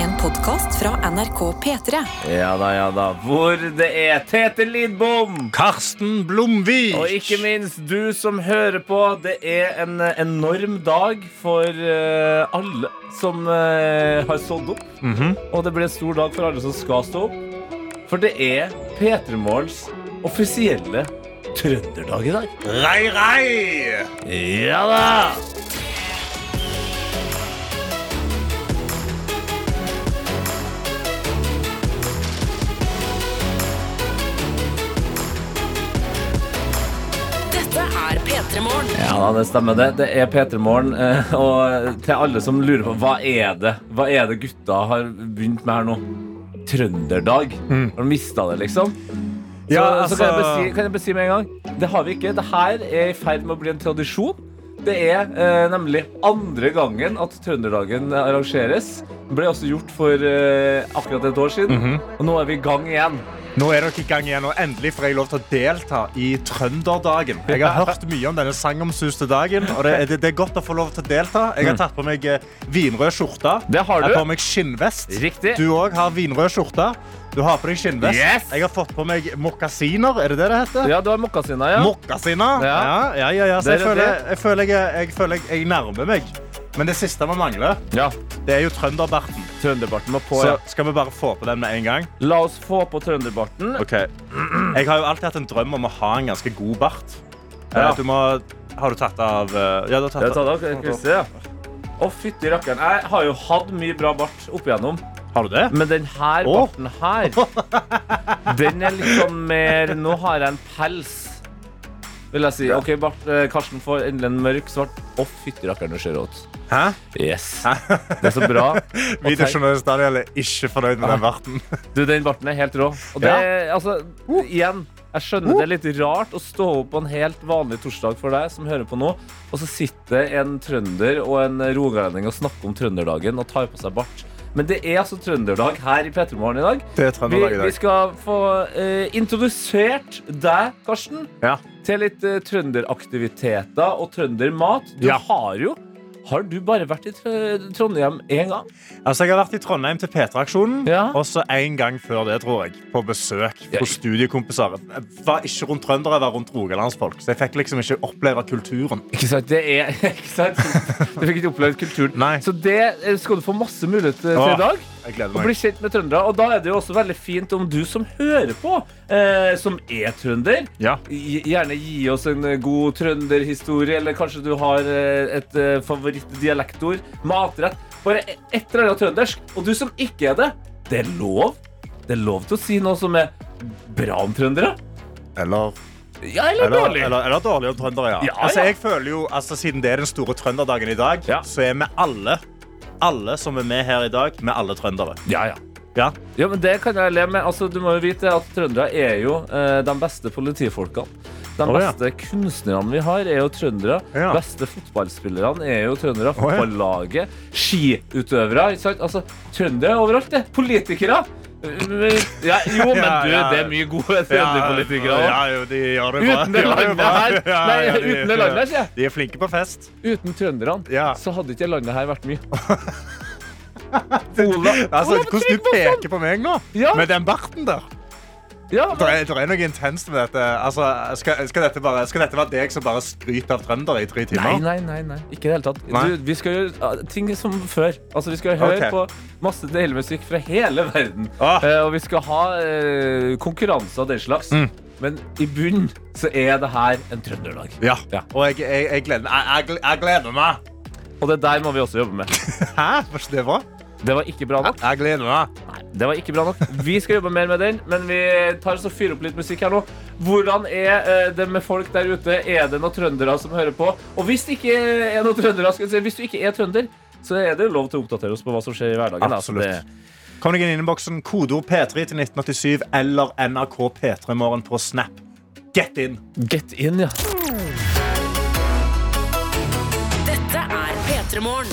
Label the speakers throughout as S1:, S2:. S1: En podkast fra NRK P3.
S2: Ja da, ja da. Hvor det er Tete Lidbom!
S3: Karsten Blomvik!
S2: Og ikke minst du som hører på. Det er en eh, enorm dag for eh, alle som eh, har stått opp. Og det blir en stor dag for alle som skal stå opp. For det er P3 Morgens offisielle trønderdag i dag.
S3: Rei, rei!
S2: Ja da!
S1: Dette er P3 Morgen.
S2: Ja, da, det stemmer det. Det er P3morgen. eh, Og til alle som lurer på hva er det Hva er det gutta har begynt med her nå? Trønderdag. Har de mista det, liksom? Så,
S3: Ja,
S2: så kan, jeg
S3: altså-
S2: besi, kan jeg besi med en gang Det har vi ikke. Det her er i ferd med å bli en tradisjon. Det er eh, nemlig andre gangen at Trønderdagen arrangeres. Det ble også gjort for eh, akkurat et år siden. Og nå er vi i gang igjen.
S3: Nå er dere i gang igjen, og endelig får jeg lov til å delta i Trønderdagen. Jeg har hørt mye om denne sangomsuste dagen, og det, det, det er godt å få lov til å delta. Jeg har tatt på meg eh, vinrød skjorte.
S2: Mm. Det har
S3: Jeg
S2: du.
S3: har på meg skinnvest.
S2: Riktig.
S3: Du òg har vinrød skjorte. Du har på deg skinnvest.
S2: Yes.
S3: Jeg har fått på meg mokkasiner. Er det det det heter?
S2: Ja, du har mokkasiner, ja.
S3: Mokkasiner?
S2: Ja.
S3: Ja. Ja, ja, ja. Så
S2: Det
S3: jeg
S2: er det.
S3: føler jeg, føler jeg, jeg, føler jeg, jeg nærmer meg. Men det siste vi mangler,
S2: ja.
S3: det er jo trønderbarten.
S2: Trønderbarten må på.
S3: Så
S2: Ja.
S3: skal vi bare få på den med en gang.
S2: La oss få på trønderbarten.
S3: Jeg har jo alltid hatt en drøm om å ha en ganske god bart. Eh,
S2: Ja.
S3: Du må, har du tatt av eh, Ja, du har tatt
S2: Jeg tar
S3: av.
S2: det, ok, Christer, ja. Å, fytti rakkeren. Jeg har jo hatt mye bra bart opp igjennom,
S3: Har du det?
S2: men den her
S3: Å.
S2: barten her Den er liksom mer Nå har jeg en pels, vil jeg si. OK, bart, eh, Karsten får endelig en mørk svart. Å, fytti rakkeren, du ser ut.
S3: Hæ?
S2: Yes. Det er så bra.
S3: Videojournalist Daniel er ikke fornøyd med den barten.
S2: Du, den barten er helt rå. Og det, altså, igjen, jeg skjønner det er litt rart å stå opp på en helt vanlig torsdag for deg som hører på nå, og så sitter en trønder og en rogalending og snakker om trønderdagen og tar på seg bart. Men det er altså trønderdag her i Petremorgen i dag.
S3: Det er
S2: Vi,
S3: Trøndelag i
S2: vi
S3: dag.
S2: skal få eh, introdusert deg, Karsten,
S3: Ja.
S2: til litt eh, trønderaktiviteter og trøndermat. Du
S3: Ja.
S2: har jo Har du bare vært i Trø- Trondheim én gang?
S3: Altså, jeg har vært i Trondheim til P3-aksjonen,
S2: Ja.
S3: og så en gang før det, tror jeg. På besøk
S2: Ja.
S3: hos studiekompiser. Jeg var ikke rundt trøndere, jeg var rundt rogalandsfolk. Så jeg fikk liksom ikke oppleve kulturen.
S2: Ikke sant? Det er, ikke sant? Du fikk ikke opplevd kulturen.
S3: Nei.
S2: Så det eh, skal du få masse mulighet eh, til
S3: Åh.
S2: i dag.
S3: Jeg gleder
S2: Og bli
S3: meg.
S2: kjent med trøndere. Og da er det jo også veldig fint om du som hører på, eh, som er trønder,
S3: Ja.
S2: gj- gjerne gi oss en eh, god trønderhistorie, eller kanskje du har eh, et eh, favorittdialektord, matrett Bare e- et eller annet trøndersk. Og du som ikke er det, det er lov. Det er lov til å si noe som er bra om trøndere.
S3: Eller
S2: Ja, eller,
S3: Eller,
S2: dårlig.
S3: eller, eller dårlig om trøndere, ja.
S2: Ja,
S3: altså,
S2: ja.
S3: jeg føler jo, altså, Siden det er den store trønderdagen i dag,
S2: Ja.
S3: så er vi alle alle som er med her i dag, vi er alle trøndere.
S2: Ja, ja.
S3: Ja.
S2: Ja, men Det kan jeg le med. Altså, du må jo vite at Trøndere er jo eh, de beste politifolkene. De
S3: Å, ja.
S2: beste kunstnerne vi har, er jo trøndere.
S3: Ja.
S2: beste fotballspillerne er jo trøndere.
S3: ja.
S2: Fotballaget. Skiutøvere. ikke sant? Altså, Trøndere er overalt, det. Politikere. Eh, Ja, jo, men
S3: Ja,
S2: du,
S3: ja.
S2: det er mye gode trønderpolitikere òg.
S3: Ja, jo, de gjør det bra.
S2: Uten det
S3: De gjør
S2: landet
S3: bra.
S2: her.
S3: Ja,
S2: Nei,
S3: ja, de-
S2: uten det landet her, sier jeg.
S3: De er flinke på fest.
S2: Uten trønderne
S3: Ja.
S2: så hadde ikke landet her vært mye. Ola,
S3: Altså,
S2: Olav
S3: hvordan du
S2: Tryggvason!
S3: peker på meg nå,
S2: Ja.
S3: med den barten der.
S2: Ja,
S3: Det
S2: men,
S3: er, det er noe intenst med dette. Altså, skal, skal, dette bare, skal dette være deg som bare skryter av trøndere i tre
S2: Nei,
S3: timer?
S2: nei, nei, nei. Ikke i det hele tatt.
S3: Nei.
S2: Du, vi skal gjøre ah, ting som før. Altså, vi skal høre
S3: Ok.
S2: på masse deilig musikk fra hele verden.
S3: Ah.
S2: Eh, og vi skal ha eh, konkurranser og den slags.
S3: Mm.
S2: Men i bunnen så er det her en trønderdag.
S3: Ja.
S2: Ja.
S3: Og jeg, jeg, jeg, gleder, jeg, jeg, jeg gleder meg.
S2: Og det der må vi også jobbe med.
S3: Hæ? Var ikke det bra?
S2: Det var ikke bra nok.
S3: Jeg gleder meg.
S2: Det var ikke bra nok. Vi skal jobbe mer med den, men vi tar oss og fyrer opp litt musikk her nå. Hvordan er eh, det med folk der ute? Er det noen trøndere som hører på? Og hvis det ikke er noen trøndere, skal jeg si, hvis du ikke er trønder, så er det jo lov til å oppdatere oss på hva som skjer i hverdagen. da. Så
S3: Absolutt.
S2: det-
S3: Kom deg inn i innboksen. Kodeord P3 til 1987 eller NRK P3 morgen på Snap. Get in!
S2: Get in, ja.
S1: Dette er P3 Morgen.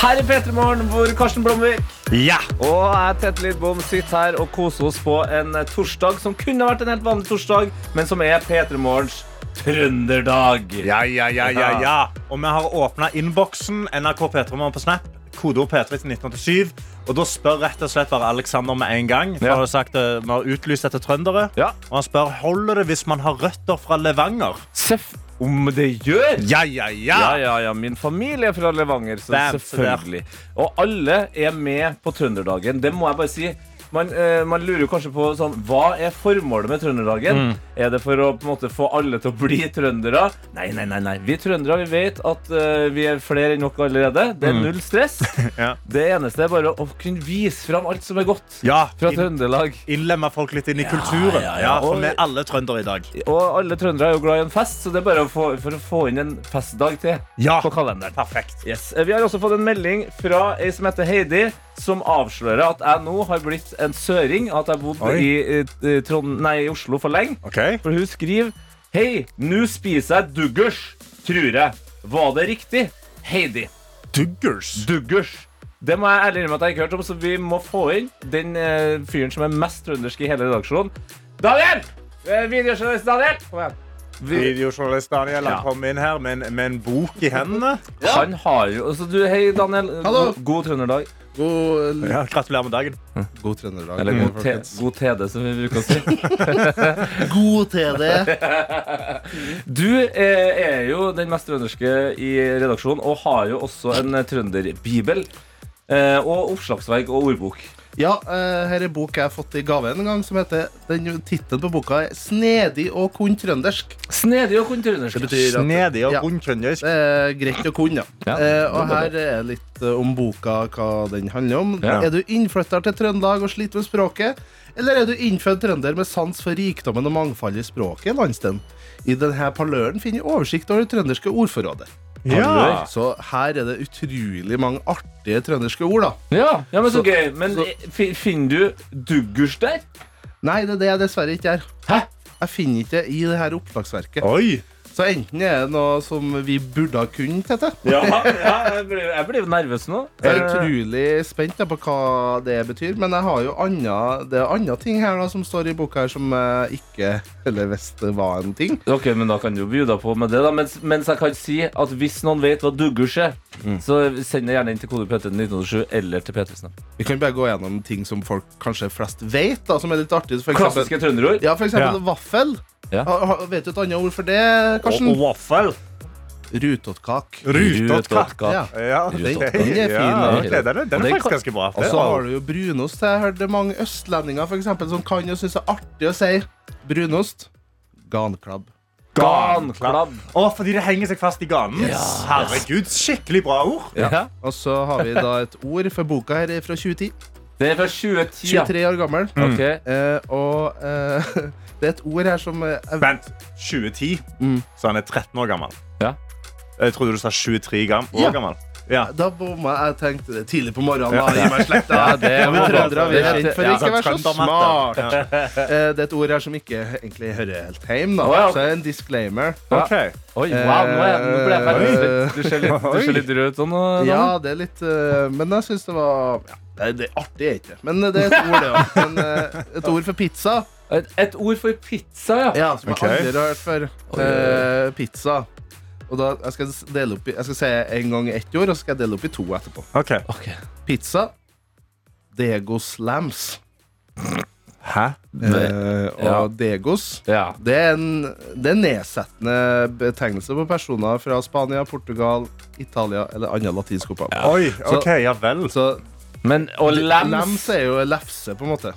S2: Her i P3 Morgen, hvor Karsten Blomvik
S3: Ja!
S2: og jeg, Tete Lidbom, sitter her og koser oss på en eh, torsdag som kunne vært en helt vanlig torsdag, men som er P3 Morgens trønderdag.
S3: Ja, ja, ja, ja, ja. Og vi har åpna innboksen NRK P3 morgen på Snap. kodeord P3 til 1987. Og da spør rett og slett bare Alexander med en gang. For
S2: Ja.
S3: han har sagt eh, Vi har utlyst etter trøndere.
S2: Ja.
S3: Og han spør holder det hvis man har røtter fra Levanger.
S2: Seff om det gjør!
S3: Ja, ja, ja!
S2: Ja, ja, ja. Min familie er fra Levanger, så
S3: Bam, så der.
S2: selvfølgelig. Og alle er med på Trønderdagen. Det må jeg bare si. Man, eh, man lurer jo kanskje på sånn, hva er formålet med Trønderdagen.
S3: Mm.
S2: Er det for å på en måte få alle til å bli trøndere? Nei, nei, nei. nei. Vi trøndere vi vet at eh, vi er flere enn nok allerede. Det er null stress.
S3: Mm. Ja.
S2: Det eneste er bare å kunne vise fram alt som er godt
S3: Ja,
S2: fra
S3: inn-
S2: Trøndelag.
S3: Innlemme folk litt inn i kulturen.
S2: ja, ja.
S3: Ja, for
S2: Og-
S3: vi er alle trøndere i dag.
S2: Og alle trøndere er jo glad i en fest, så det er bare å få, for å få inn en festdag til
S3: Ja.
S2: på kalenderen.
S3: Perfekt.
S2: Yes. Eh, Vi har også fått en melding fra ei som heter Heidi, som avslører at jeg nå har blitt en søring. At jeg har bodd
S3: Oi.
S2: i, eh, Trond nei, i Oslo for lenge.
S3: Ok.
S2: For hun skriver Hei, nå spiser jeg duggers, tror jeg. Var det riktig? Heidi.
S3: Duggers.
S2: Duggers. Det må jeg ærlig innrømme at jeg ikke har hørt om, så vi må få inn den eh, fyren som er mest trøndersk i hele redaksjonen. Daniel! Eh, Videojournalist Daniel! Kom igjen. Vi,
S3: Videojournalist Daniel han
S2: Ja.
S3: kom inn her med en, med en bok i hendene.
S2: Han har jo altså, du, Hei, Daniel.
S4: Hallo.
S2: God, god trønderdag.
S4: God,
S3: Ja, gratulerer med dagen.
S4: god trønderdag.
S2: Eller god, te,
S4: folkens.
S2: god TD, som vi bruker å si.
S4: God TD.
S2: Du eh, er jo den mest trønderske i redaksjonen, og har jo også en eh, trønderbibel. Eh, og oppslagsverk og ordbok.
S4: Ja, eh, her er bok jeg har fått i gave en gang, som heter Den tittelen på boka er 'Snedig og kun trøndersk'.
S2: Snedig og kun trøndersk.
S4: Det betyr at
S3: Snedig og
S4: Ja.
S3: rund trøndersk.
S4: det er greit å kunne, ja.
S2: Ja,
S4: Eh, og
S2: det er
S4: her er litt eh, om boka, hva den handler om.
S2: Ja.
S4: Er du innflytter til Trøndelag og sliter med språket? Eller er du innfødt trønder med sans for rikdommen og mangfoldet i språket i landsdelen? I denne paløren finner jeg oversikt over det trønderske ordforrådet.
S3: Ja.
S4: Så her er det utrolig mange artige trønderske ord, da.
S2: Ja, ja, men så,
S4: Så-
S2: gøy. Men
S4: så-
S2: eh, fi- finner du duggers der?
S4: Nei, det er det jeg dessverre ikke er.
S2: Hæ?
S4: Jeg finner ikke det i det her oppslagsverket.
S3: Oi!
S4: Så enten er det noe som vi burde ha kunnet, heter det.
S2: Ja, ja jeg blir- jeg blir jo nervøs nå.
S4: Jeg er
S2: Eh,
S4: utrolig spent da, på hva det betyr, men jeg har jo andre, det er andre ting her da, som står i boka her som jeg ikke heller visste var en ting.
S2: Eh, Ok, men Da kan du jo bjuda på med det, da. Mens, mens jeg kan si at hvis noen vet hva duggers er,
S4: Mm.
S2: så send det gjerne inn til kode PT 1987 eller til P3.
S4: Vi kan bare gå gjennom ting som folk kanskje flest vet, da, som er litt artig. For eksempel,
S2: Klassiske trønderord.
S4: ja, for eksempel
S3: Ja.
S4: vaffel.
S2: Ja.
S4: Ha, ha, vet du et annet ord for det,
S3: Og, og
S4: Karsten?
S3: vaffel.
S4: Rutottkak.
S3: Rutottkak.
S2: Rutottkak.
S4: Ja.
S3: Ja,
S2: Den-
S3: ok.
S2: den er fin,
S3: Ja,
S2: den.
S3: ok, den, er,
S2: Og
S3: den er
S2: den
S3: faktisk
S2: kan-
S3: ganske bra.
S4: Og
S3: Det-
S4: så har du jo brunost. Jeg hørte det er mange østlendinger for eksempel, som kan og syns det er artig å si brunost. Ganklabb.
S2: Ganklabb.
S3: Å, fordi det henger seg fast i ganen. Herregud, skikkelig bra ord.
S2: Ja.
S4: Og så har vi da et ord, for boka her er fra 2010.
S2: Det er fra 2010. ja.
S4: 23 år gammel.
S2: Ok.
S4: Eh, og eh, det er et ord her som eh, er
S3: Vent. 2010,
S4: Mm.
S3: så han er 13 år gammel.
S2: Ja.
S3: Jeg trodde du sa 23 gam år
S4: Ja.
S3: gammel. Ja.
S4: Da bomma jeg. Jeg tenkte det tidlig på morgenen. Da, i meg slett, da.
S2: Ja, det
S4: Ja, men
S2: var bra.
S4: trøndere, vi er kjent for
S2: Ja, sånn
S4: ikke å være så
S3: trøndermatte.
S4: smart. Eh, det er et ord her som ikke egentlig hører helt hjem. Da.
S2: Å, ja, ok.
S4: Så er det en disclaimer.
S3: Ok.
S2: Oi, wow, nå er- nå ble jeg nervøs. Du ser litt, du ser litt rød ut sånn. nå,
S4: Ja,
S2: Daniel.
S4: det er litt eh, Men jeg syns det var ja, det, er- det er artig, er ikke det? Men eh, det er et ord, det òg. Men eh, et ord for pizza.
S2: Et, et ord for pizza, ja.
S4: Ja, som
S3: Ok.
S4: jeg aldri har hørt før. Eh, pizza. Og da, jeg, skal dele opp i, jeg skal si en gang ett ord, og så skal jeg dele opp i to etterpå.
S3: Ok.
S2: Ok.
S4: Pizza. Dego slams.
S3: Hæ?
S4: Eh, og
S2: Ja.
S4: Degos
S2: Ja.
S4: det er, en, det er en nedsettende betegnelse på personer fra Spania, Portugal, Italia eller annet latinsk opphav.
S3: Oi, ok, ja vel.
S4: Så
S2: Men og
S4: Lems.
S2: lems
S4: er jo lefse, på en måte.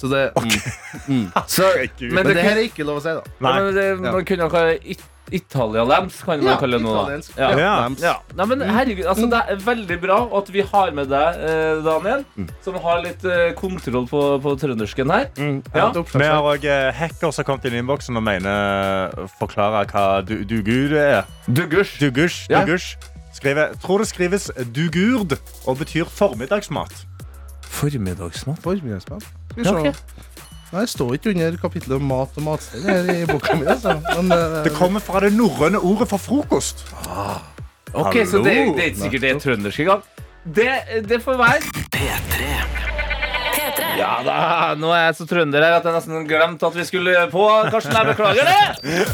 S4: Så det, mm.
S3: Herregud.
S4: Men
S2: Mm. Men det
S4: det, her er ikke lov å si, da.
S2: Nei.
S3: Nei.
S2: men det, man kunne jo kalle it, Italia-lems, kan man kalle det nå. da.
S4: italiensk.
S2: Ja.
S3: Ja.
S4: Lems.
S2: Ja, nei, men herregud, altså, Det er veldig bra at vi har med deg, eh, Daniel, som har litt eh, kontroll på, på trøndersken her.
S4: Mm.
S2: Ja.
S4: Et oppslag.
S3: Vi har òg hacker som har kommet inn i innboksen og mener eh, forklarer hva du, dugur er.
S2: Duggers.
S3: Dugurs,
S2: Ja.
S3: dugurs. Skriver, tror det skrives dugurd og betyr formiddagsmat.
S2: Formiddagsmat.
S4: Formiddagsmann. Skal vi
S2: Ja,
S4: se.
S2: ok.
S4: Nei, det står ikke under kapitlet om mat og matsted her i boka mi. Altså. Men eh,
S3: Det kommer fra det norrøne ordet for frokost.
S2: Ok, så det,
S3: Hallo.
S2: det er ikke sikkert det er trøndersk engang. Det, det får være.
S1: P3.
S2: Ja da, Nå er jeg så trønder her at jeg nesten glemte at vi skulle på. Karsten, jeg beklager det.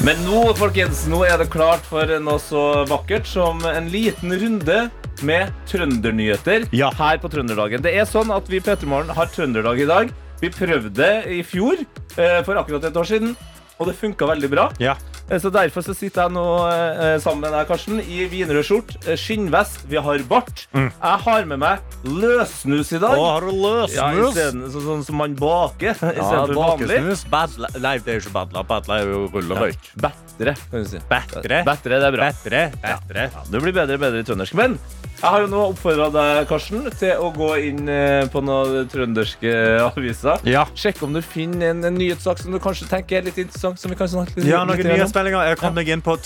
S2: Men nå, folkens, nå er det klart for noe så vakkert som en liten runde med trøndernyheter
S3: Ja.
S2: her på Trønderdagen. Det er sånn at vi i Petermorgen har trønderdag i dag. Vi prøvde i fjor, eh, for akkurat et år siden, og det funka veldig bra.
S3: Ja.
S2: Eh, Så Derfor så sitter jeg nå eh, sammen med deg, Karsten, i wienerrød skjort, eh, skinnvest, vi har bart. Jeg har med meg løssnus i
S3: Mm. Å,
S2: dag.
S3: har du løs
S2: ja, i
S3: snus?
S2: stedet, så, sånn som man baker
S3: Ja,
S2: istedenfor vanlig.
S3: bakesnus. Badla. Nei, det er jo ikke badla. Badla er jo rull og røyk.
S2: Bedre, kan du si.
S3: Bedre.
S2: Bedre, det er bra.
S3: Bedre. Bedre.
S2: Ja, du blir bedre og bedre i trøndersk. Men jeg har jo nå oppfordra deg, Karsten, til å gå inn eh, på noen trønderske aviser.
S3: Ja.
S2: Sjekk om du finner en, en nyhetssak som du kanskje tenker er litt interessant. Som vi kan snakke litt
S3: Ja, noen
S2: litt grann om.
S3: nyhetsmeldinger. Jeg kom meg inn på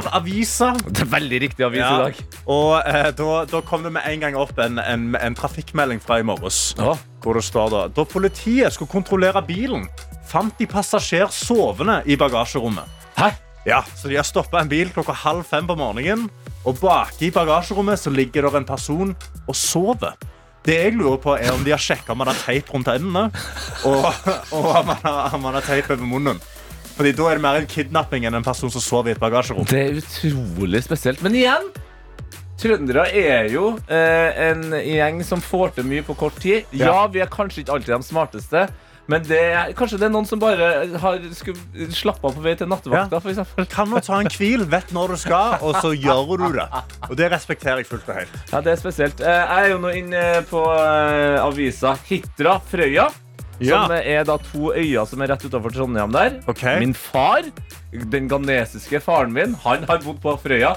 S3: Trønderavisa.
S2: Det er veldig riktig avis i dag.
S3: Og eh, da, da kom det med en gang opp en, en, en trafikkmelding fra i morges.
S2: Ja.
S3: Hvor det står da Da politiet skulle kontrollere bilen, fant de passasjer sovende i bagasjerommet.
S2: Hæ?
S3: Ja, Så de har stoppa en bil klokka halv fem på morgenen, og baki i bagasjerommet så ligger det en person og sover. Det jeg lurer på er om de har sjekka om han har teip rundt endene, og, og om, han har, om han har teip over munnen. Fordi Da er det mer en kidnapping enn en person som sover i et bagasjerom.
S2: Det er utrolig spesielt. Men igjen, trøndere er jo eh, en gjeng som får til mye på kort tid. Ja,
S3: Ja.
S2: vi er kanskje ikke alltid de smarteste. Men det er, kanskje det er noen som bare har skulle slappe av på vei til nattevakta,
S3: Ja.
S2: for eksempel.
S3: Kan nå ta en hvil, vet når du skal, og så gjør du det. Og det respekterer jeg fullt og helt.
S2: Ja, det er spesielt. Eh, Jeg er jo nå inne på eh, avisa Hitra Frøya.
S3: Ja.
S2: Som er da to øyer som er rett utenfor Trondheim der.
S3: Ok.
S2: Min far, den ghanesiske faren min, han har bodd på Frøya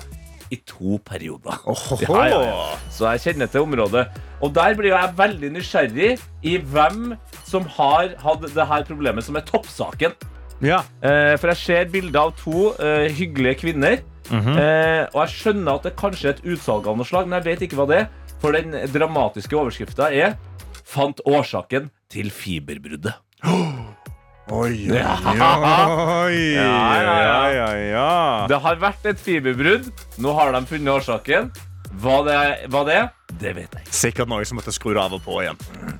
S2: i to perioder. Ja, ja, ja. Så jeg kjenner til området. Og der blir jo jeg veldig nysgjerrig i hvem som har hatt det her problemet som er toppsaken.
S3: Ja.
S2: Eh, for jeg ser bilder av to eh, hyggelige kvinner. eh, og jeg skjønner at det kanskje er et utsalg av noe slag, men jeg vet ikke hva det er. For den dramatiske overskrifta er 'Fant årsaken til fiberbruddet'.
S3: Oi, oi, oi.
S2: Ja, ja, ja.
S3: ja, ja.
S2: Det har vært et fiberbrudd. Nå har de funnet årsaken. Hva det, hva det er, det vet jeg ikke.
S3: Sikkert noe som måtte skru det av og på igjen.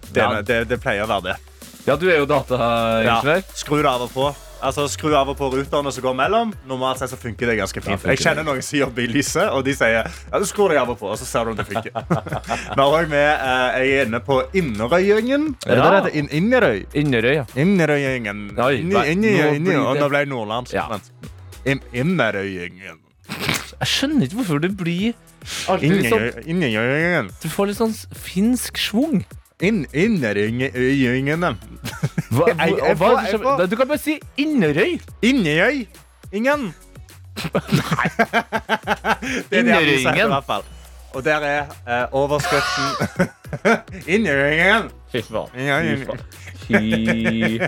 S3: Det,
S2: Ja.
S3: det, det pleier å være det.
S2: Ja, du er jo dataingeniør.
S3: Skru det av og på. Altså, skru av og på rutene som går mellom. Normalt sett så funker det ganske
S2: Ja,
S3: fint.
S2: funker
S3: Jeg kjenner noen som jobber i lyset, og de sier ja, du skrur deg av og på, og så ser du om det funker. Vi har også med, eh, jeg er inne på Innerøygjengen. Er
S2: Ja.
S3: det det det heter? In Innerøy?
S2: Inderøy, ja.
S3: Innerøyingen.
S2: Oi,
S3: Inni,
S2: nei,
S3: inni,
S2: nå
S3: inni,
S2: blir
S3: og
S2: det-
S3: nå ble jeg nordlandsk.
S2: Ja.
S3: vent. In- Innerøyingen.
S2: Jeg skjønner ikke hvorfor det blir alltid litt sånn
S3: Innerøy- Innerøyingen.
S2: Du får litt sånn finsk schwung.
S3: In- Innerøyingene.
S2: Hva,
S3: Jeg- jeg- jeg får- jeg får-
S2: liksom- du kan bare si Inderøy.
S3: Innerøy. Ingen. Nei. det er det jeg vil si, i
S2: Innerøyingen.
S3: hvert fall. Og der er eh, overskriften Innerøyingen.
S2: Fy faen.
S3: Innerøyingen.
S2: Fy,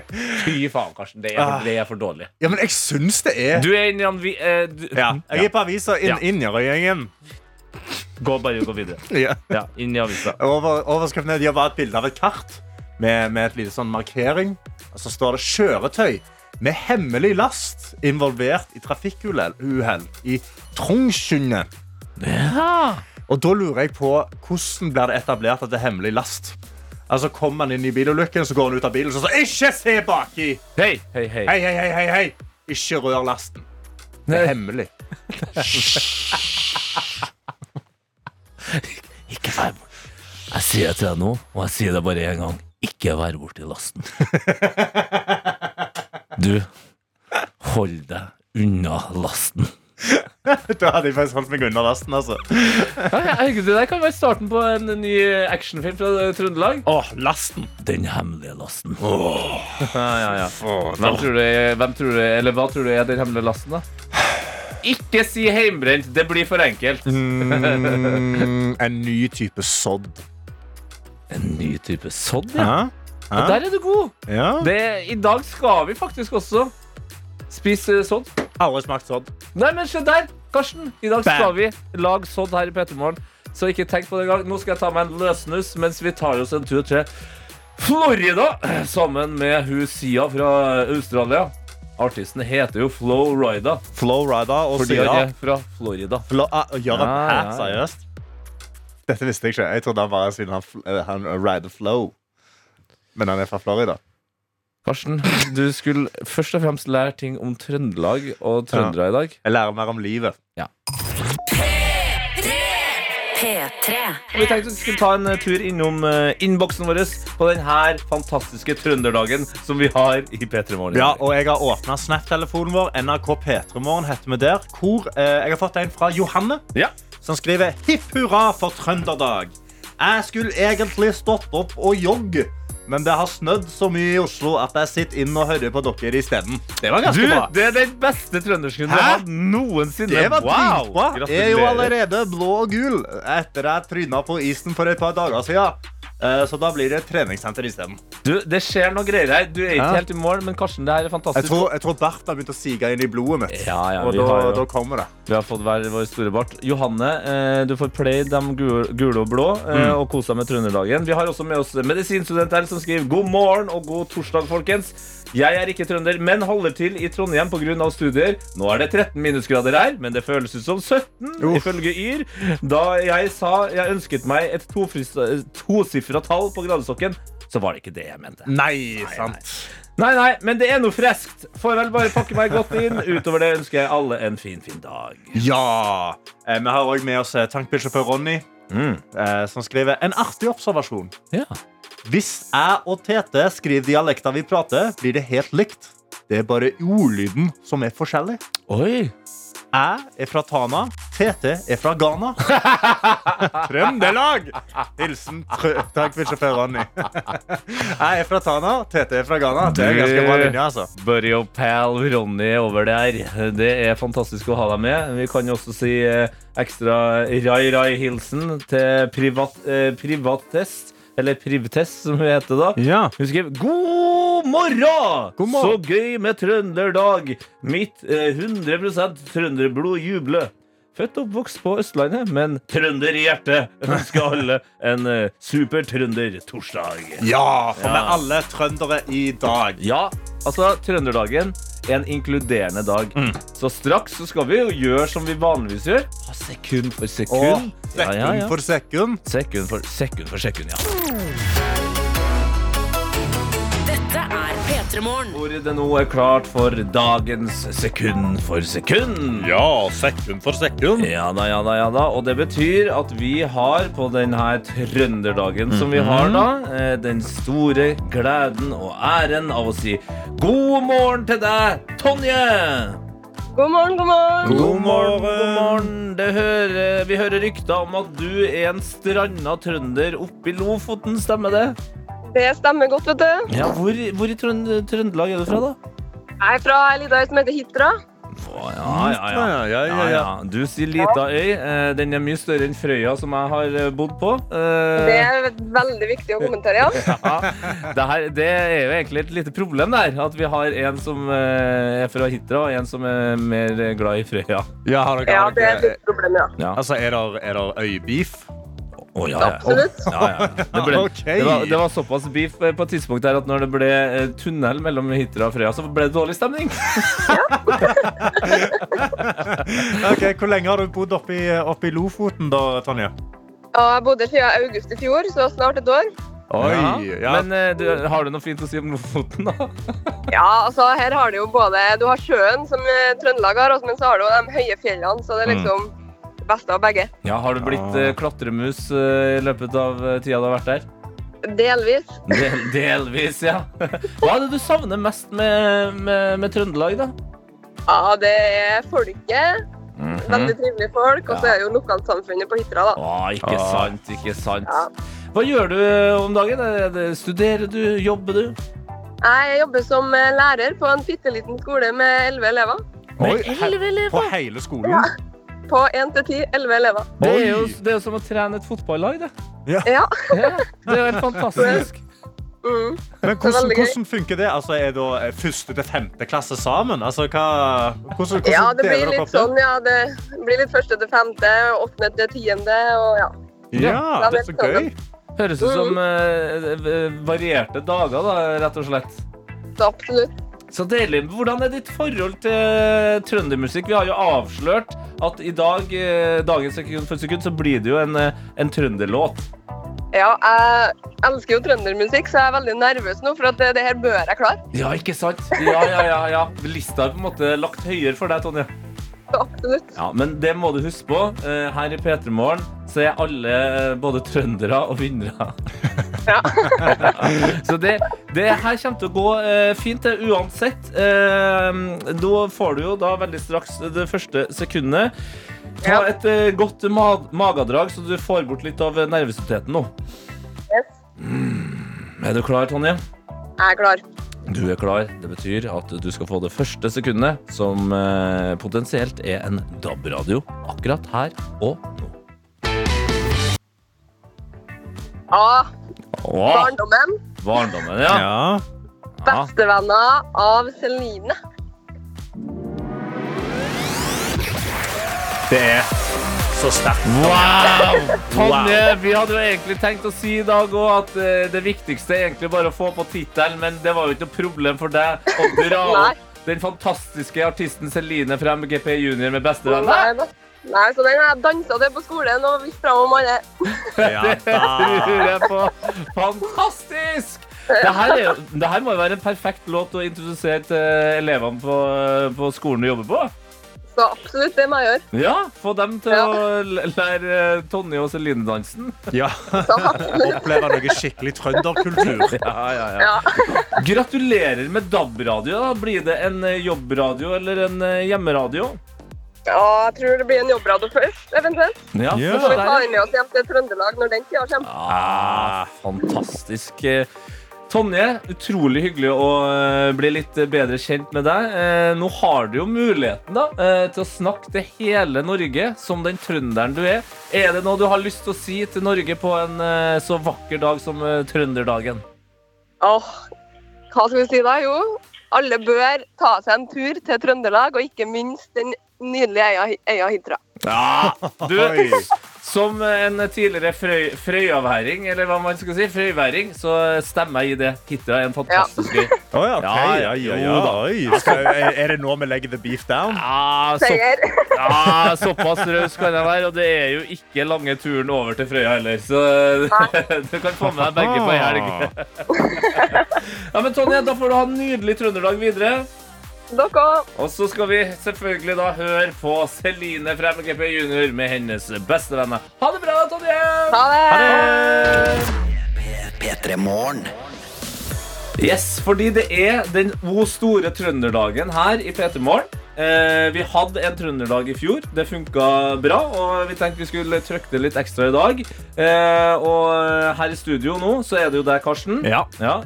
S2: fy faen, Karsten. Det er, det er for dårlig.
S3: Ja, men jeg syns det er
S2: Du er inne i en vi- eh, du-
S3: ja, Jeg er på avisa in
S2: Ja.
S3: Innerøyingen.
S2: Gå bare gå videre.
S3: Ja.
S2: Ja, inn i avisa.
S3: Over, overskriften er de har bare et bilde av et kart med, med et lite sånn markering. Og så står det 'kjøretøy med hemmelig last involvert i trafikkuhell' i Trongsundet.
S2: Ja.
S3: Og da lurer jeg på hvordan blir det etablert at det er hemmelig last? Altså Kommer han inn i bilulykken, så går han ut av bilen og sier 'ikke se baki'.
S2: Hei, hei, hei.
S3: Hei, hei, hei, hei, hei. Ikke rør lasten. Det er hemmelig.
S2: Ikke vær borte. Jeg sier det til deg nå, og jeg sier det bare én gang. Ikke vær borti lasten. Du, hold deg unna lasten.
S3: Da hadde jeg faktisk holdt meg unna lasten. altså.
S2: Det der kan være starten på en ny actionfilm fra Trøndelag.
S3: Åh, lasten.
S2: Den hemmelige lasten.
S3: Åh,
S2: Hvem tror du, er- hvem tror du, er- eller hva tror du er den hemmelige lasten, da? Ikke si heimbrent. Det blir for enkelt.
S3: Mm, en ny type sodd.
S2: En ny type sodd, ja.
S3: Hæ?
S2: Og
S3: Hæ?
S2: der er du god.
S3: Ja.
S2: Det, I dag skal vi faktisk også spise sodd.
S3: Aldri smakt sånn. sodd.
S2: Nei, men se der, Karsten. I dag skal
S3: Bam.
S2: vi lage sodd her i Petermorgen. Så ikke tenk på det engang. Nå skal jeg ta meg en løssnus mens vi tar oss en tur til Florida sammen med hun Sia fra Australia. Artisten heter jo Flo Rida
S3: Flowrider og
S2: fordi
S3: syra.
S2: han er fra Florida.
S3: Flo ah, gjør han
S2: Ja, ja,
S3: hæ?
S2: ja.
S3: Seriøst? Dette visste jeg ikke. eh, Jeg trodde han bare siden han, fl- eh, han rider flow. Men han er fra Florida.
S2: Karsten, du skulle først og fremst lære ting om Trøndelag og trøndere i dag.
S3: Jeg lærer mer om livet.
S1: P3.
S2: Vi tenkte vi skulle ta en eh, tur innom eh, innboksen vår på denne fantastiske trønderdagen som vi har i P3 Morgen.
S3: Ja, og jeg har åpna Snap-telefonen vår. NRK P3morgen heter vi der. Hvor eh, Jeg har fått en fra Johanne,
S2: Ja.
S3: som skriver Hipp hurra for trønderdag. Jeg skulle egentlig stått opp og jogge. Men det har snødd så mye i Oslo at jeg sitter inn og hører på dere isteden. Det var
S2: Du,
S3: ganske bra.
S2: det er den beste trøndersken du
S3: Hæ?
S2: har hatt noensinne.
S3: Det var
S2: wow.
S3: dritbra. Jeg er jo
S2: Gratulerer.
S3: allerede blå og gul etter jeg tryna på isen for et par dager siden. Eh, Så da blir det treningssenter isteden.
S2: Du, det skjer noe greier her. Du er ikke
S3: Ja.
S2: helt i mål, men Karsten, det her er
S3: Jeg
S2: fantastisk.
S3: tror, jeg tror Bart har begynt å sige inn i blodet mitt.
S2: Ja, ja,
S3: og
S2: vi,
S3: da,
S2: har,
S3: da
S2: jo-
S3: kommer det.
S2: vi har fått hver vår store bart. Johanne, eh, du får play de gu- gule og blå eh, og kose deg med trønderdagen. Vi har også med oss medisinstudent her som skriver god morgen og god torsdag, folkens. Jeg er ikke trønder, men holder til i Trondheim pga. studier. Nå er det 13 minusgrader her, men det føles ut som 17,
S3: Uff.
S2: ifølge Yr. Da jeg sa jeg ønsket meg et tofris- tosifra tall på gradestokken, så var det ikke det jeg mente.
S3: Nei, sant.
S2: Nei, nei, men det er noe freskt. Får vel bare pakke meg godt inn. Utover det ønsker jeg alle en fin, fin dag.
S3: Ja! Eh, Vi har òg med oss eh, tankbilsjåfør Ronny,
S2: Mm.
S3: eh, som skriver en artig observasjon.
S2: Ja.
S3: Hvis jeg og Tete skriver dialekta vi prater, blir det helt likt. Det er bare ordlyden som er forskjellig.
S2: Oi.
S3: Jeg er fra Tana. Tete er fra Ghana. Trøndelag! Hilsen trø Takk for sjåfør Ronny. Jeg er fra Tana. Tete er fra Ghana. Det er ganske bra linje, altså.
S2: Buddy og pal Ronny over der. Det er fantastisk å ha deg med. Vi kan jo også si eh, ekstra rai-rai-hilsen til privat, eh, privattest. Eller Privtest, som hun heter da. Hun skriver God morgen!
S3: God morgen!»
S2: Så gøy med trønderdag! Mitt eh, 100 trønderblod jubler. Født og oppvokst på Østlandet, men trønder i hjertet. Ønsker alle en eh, super trønder-torsdag.
S3: Ja, for vi
S2: Ja.
S3: er alle trøndere i dag.
S2: Ja, altså trønderdagen er en inkluderende dag. Så straks så skal vi jo gjøre som vi vanligvis gjør. Ha Sekund for sekund.
S3: Og sekund for sekund.
S2: Sekund for sekund, for sekund ja.
S1: Dette er P3 Morgen.
S2: Hvor det nå er klart for dagens sekund for sekund.
S3: Ja, sekund for sekund.
S2: Ja da, ja da, ja da. Og det betyr at vi har på denne trønderdagen som vi har
S3: Mhm.
S2: da, eh, den store gleden og æren av å si god morgen til deg, Tonje!
S5: God morgen, god morgen.
S3: God morgen.
S2: God morgen. Det hører, vi hører rykter om at du er en stranda trønder oppe i Lofoten, stemmer det?
S5: Det stemmer godt, vet du.
S2: Ja, Hvor, hvor i Trønd Trøndelag er du fra, da?
S5: Jeg er fra ei lita øy som heter Hitra.
S2: Å, ja, ja, ja.
S3: Ja, ja, ja,
S2: Ja,
S3: ja.
S2: ja. Du sier lita øy. Eh, Den er mye større enn Frøya, som jeg har eh, bodd på. Eh,
S5: Det er veldig viktig å kommentere, ja.
S2: Ja, det, her, det er jo egentlig et lite problem der. At vi har en som eh, er fra Hitra, og en som er mer glad i Frøya.
S3: ja har dere,
S5: Ja,
S3: har
S5: det er
S3: dere,
S5: et problem, ja.
S3: altså, er der, er der øybeef?
S2: Å, ja,
S5: Absolutt.
S2: Ja, ja. Det, ble,
S3: Ok.
S2: det, var, det var såpass beef eh, på et tidspunkt der at når det ble eh, tunnel mellom Hitra og Frøya, så ble det dårlig stemning.
S3: Ok, Hvor lenge har du bodd oppe i, oppe i Lofoten, da, Tonje?
S5: Og jeg bodde siden august i fjor, så snart et år.
S2: Ja.
S3: Oi, ja.
S2: Men eh, du, har du noe fint å si om Lofoten, da?
S5: Ja, altså her har du jo både Du har sjøen, som eh, Trøndelag har, også, men så har du jo de høye fjellene, så det er liksom det beste av begge.
S2: Ja, Har du blitt eh, klatremus eh, i løpet av eh, tida du har vært der?
S5: Delvis.
S2: Del, delvis, ja. Hva er det du savner mest med, med, med Trøndelag, da?
S5: Ja, det er folket.
S2: Mhm.
S5: Veldig trivelige folk. Og så er det jo lokalsamfunnet på Hitra, da.
S2: Å, ikke sant, ikke sant.
S5: Ja.
S2: Hva gjør du om dagen? Er det- Studerer du? Jobber du?
S5: Jeg jobber som eh, lærer på en bitte liten skole med elleve elever.
S3: Oi, he på hele skolen?
S5: På én til ti, elleve elever.
S2: Det er, jo,
S3: Oi.
S2: det er jo som å trene et fotballag, det.
S5: Ja.
S2: Ja, det er jo helt fantastisk.
S5: Mm.
S3: Men
S5: Det er
S3: hvordan,
S5: veldig gøy.
S3: hvordan funker det? Altså, er da eh, første til femte klasse sammen? Altså, hva, hvordan, hvordan
S5: Ja, det
S3: deler
S5: blir
S3: dere
S5: litt
S3: opp det?
S5: sånn, ja. Det blir litt første til femte, åttende til tiende, og ja.
S3: Ja, det
S5: Ja,
S3: er så
S5: det er sånn.
S3: gøy.
S2: Høres ut som eh, varierte dager, da, rett og slett.
S5: Så absolutt.
S2: Så deilig. Hvordan er ditt forhold til eh, trøndermusikk? Vi har jo avslørt at i dag, eh, dagens sekund for sekund, så blir det jo en, eh, en trønderlåt.
S5: Ja, jeg elsker jo trøndermusikk, så jeg er veldig nervøs nå, for at det, det her bør jeg klare.
S2: Ja, ikke sant? Ja, ja, ja, ja. Lista er på en måte lagt høyere for deg, Tonje.
S5: Absolutt.
S2: Ja, Men det må du huske på. Eh, Her i P3 Morgen så er alle eh, både trøndere og vinnere.
S5: Ja.
S2: Så det, det her kommer til å gå eh, fint, det, uansett. Eh, Nå får du jo da veldig straks det første sekundet. Ta
S5: Ja.
S2: et eh, godt ma magedrag, så du får bort litt av eh, nervøsiteten nå.
S5: Yes.
S2: Er du klar, Tonje?
S5: Jeg er klar.
S2: Du er klar. Det betyr at du skal få det første sekundet, som eh, potensielt er en DAB-radio akkurat her og nå.
S5: A.
S2: Åh,
S5: Barndommen.
S2: barndommen, ja. ja.
S3: Ja.
S5: Bestevenner av Celine.
S3: Det er så sterkt.
S2: Wow! Tonje, vi hadde jo egentlig tenkt å si i dag òg at eh, det viktigste er egentlig bare å få på tittelen, men det var jo ikke noe problem for deg å dra
S5: Nei.
S2: opp den fantastiske artisten Celine fra MGP Junior med bestevenner.
S5: Nei, da. Nei, så den har jeg dansa til på skolen og vist fram om alle.
S3: Ja, da.
S2: lurer jeg på. Fantastisk! Det her, er, jo- det her må jo være en perfekt låt å introdusere til eh, elevene på, eh, på skolen du jobber på.
S5: Så absolutt, det må jeg gjøre.
S2: Ja, Få dem til
S5: Ja.
S2: å l- lære eh, Tonje og Celine-dansen.
S3: Ja.
S5: Så absolutt.
S3: Oppleve noe skikkelig trønderkultur.
S2: Ja, ja, ja.
S5: Ja.
S2: Gratulerer med DAB-radio. da. Blir det en eh, jobbradio eller en eh, hjemmeradio?
S5: ja, jeg tror det blir en jobbradio først, eventuelt.
S2: Ja,
S3: Ja.
S5: Så
S2: så
S5: vi
S2: der.
S5: tar med oss hjem til Trøndelag når den tida kommer.
S2: Ah, fantastisk. Eh, Tonje, utrolig hyggelig å eh, bli litt eh, bedre kjent med deg. Eh, Nå har du jo muligheten da, eh, til å snakke til hele Norge som den trønderen du er. Er det noe du har lyst til å si til Norge på en eh, så vakker dag som eh, trønderdagen?
S5: Åh, hva skal vi si da? Jo, alle bør ta seg en tur til Trøndelag, og ikke minst den nydelige øya, øya Hitra.
S2: Du,
S3: Oi.
S2: som en tidligere frøy, frøyaværing, eller hva man skal si, frøyværing, så stemmer jeg i det. Hitra er en fantastisk øy.
S3: Å ja, ok.
S2: Ja,
S3: ja,
S2: ja,
S3: ja,
S2: jo da.
S3: Oi. Skal, er er det nå vi legger the beef down?
S2: Ah, så
S5: Seier.
S2: Ja, såpass raus kan jeg være, og det er jo ikke lange turen over til Frøya heller, så du kan få med deg begge
S5: Ah.
S2: på en
S3: Ah.
S2: helg. Ja, men Tonje, da får du ha en nydelig trønderdag videre.
S5: Dere
S2: Og så skal vi selvfølgelig da høre på Celine fra MGP Junior med hennes bestevenner. Ha det bra, Tonje!
S5: Ha det!
S2: Yes, fordi det er den o store trønderdagen her i P3 Morgen. Eh, vi hadde en trønderdag i fjor. Det funka bra. Og vi tenkte vi skulle trykke det litt ekstra i dag. Eh, og her i studio nå så er det jo deg, Karsten.
S3: Ja.
S2: ja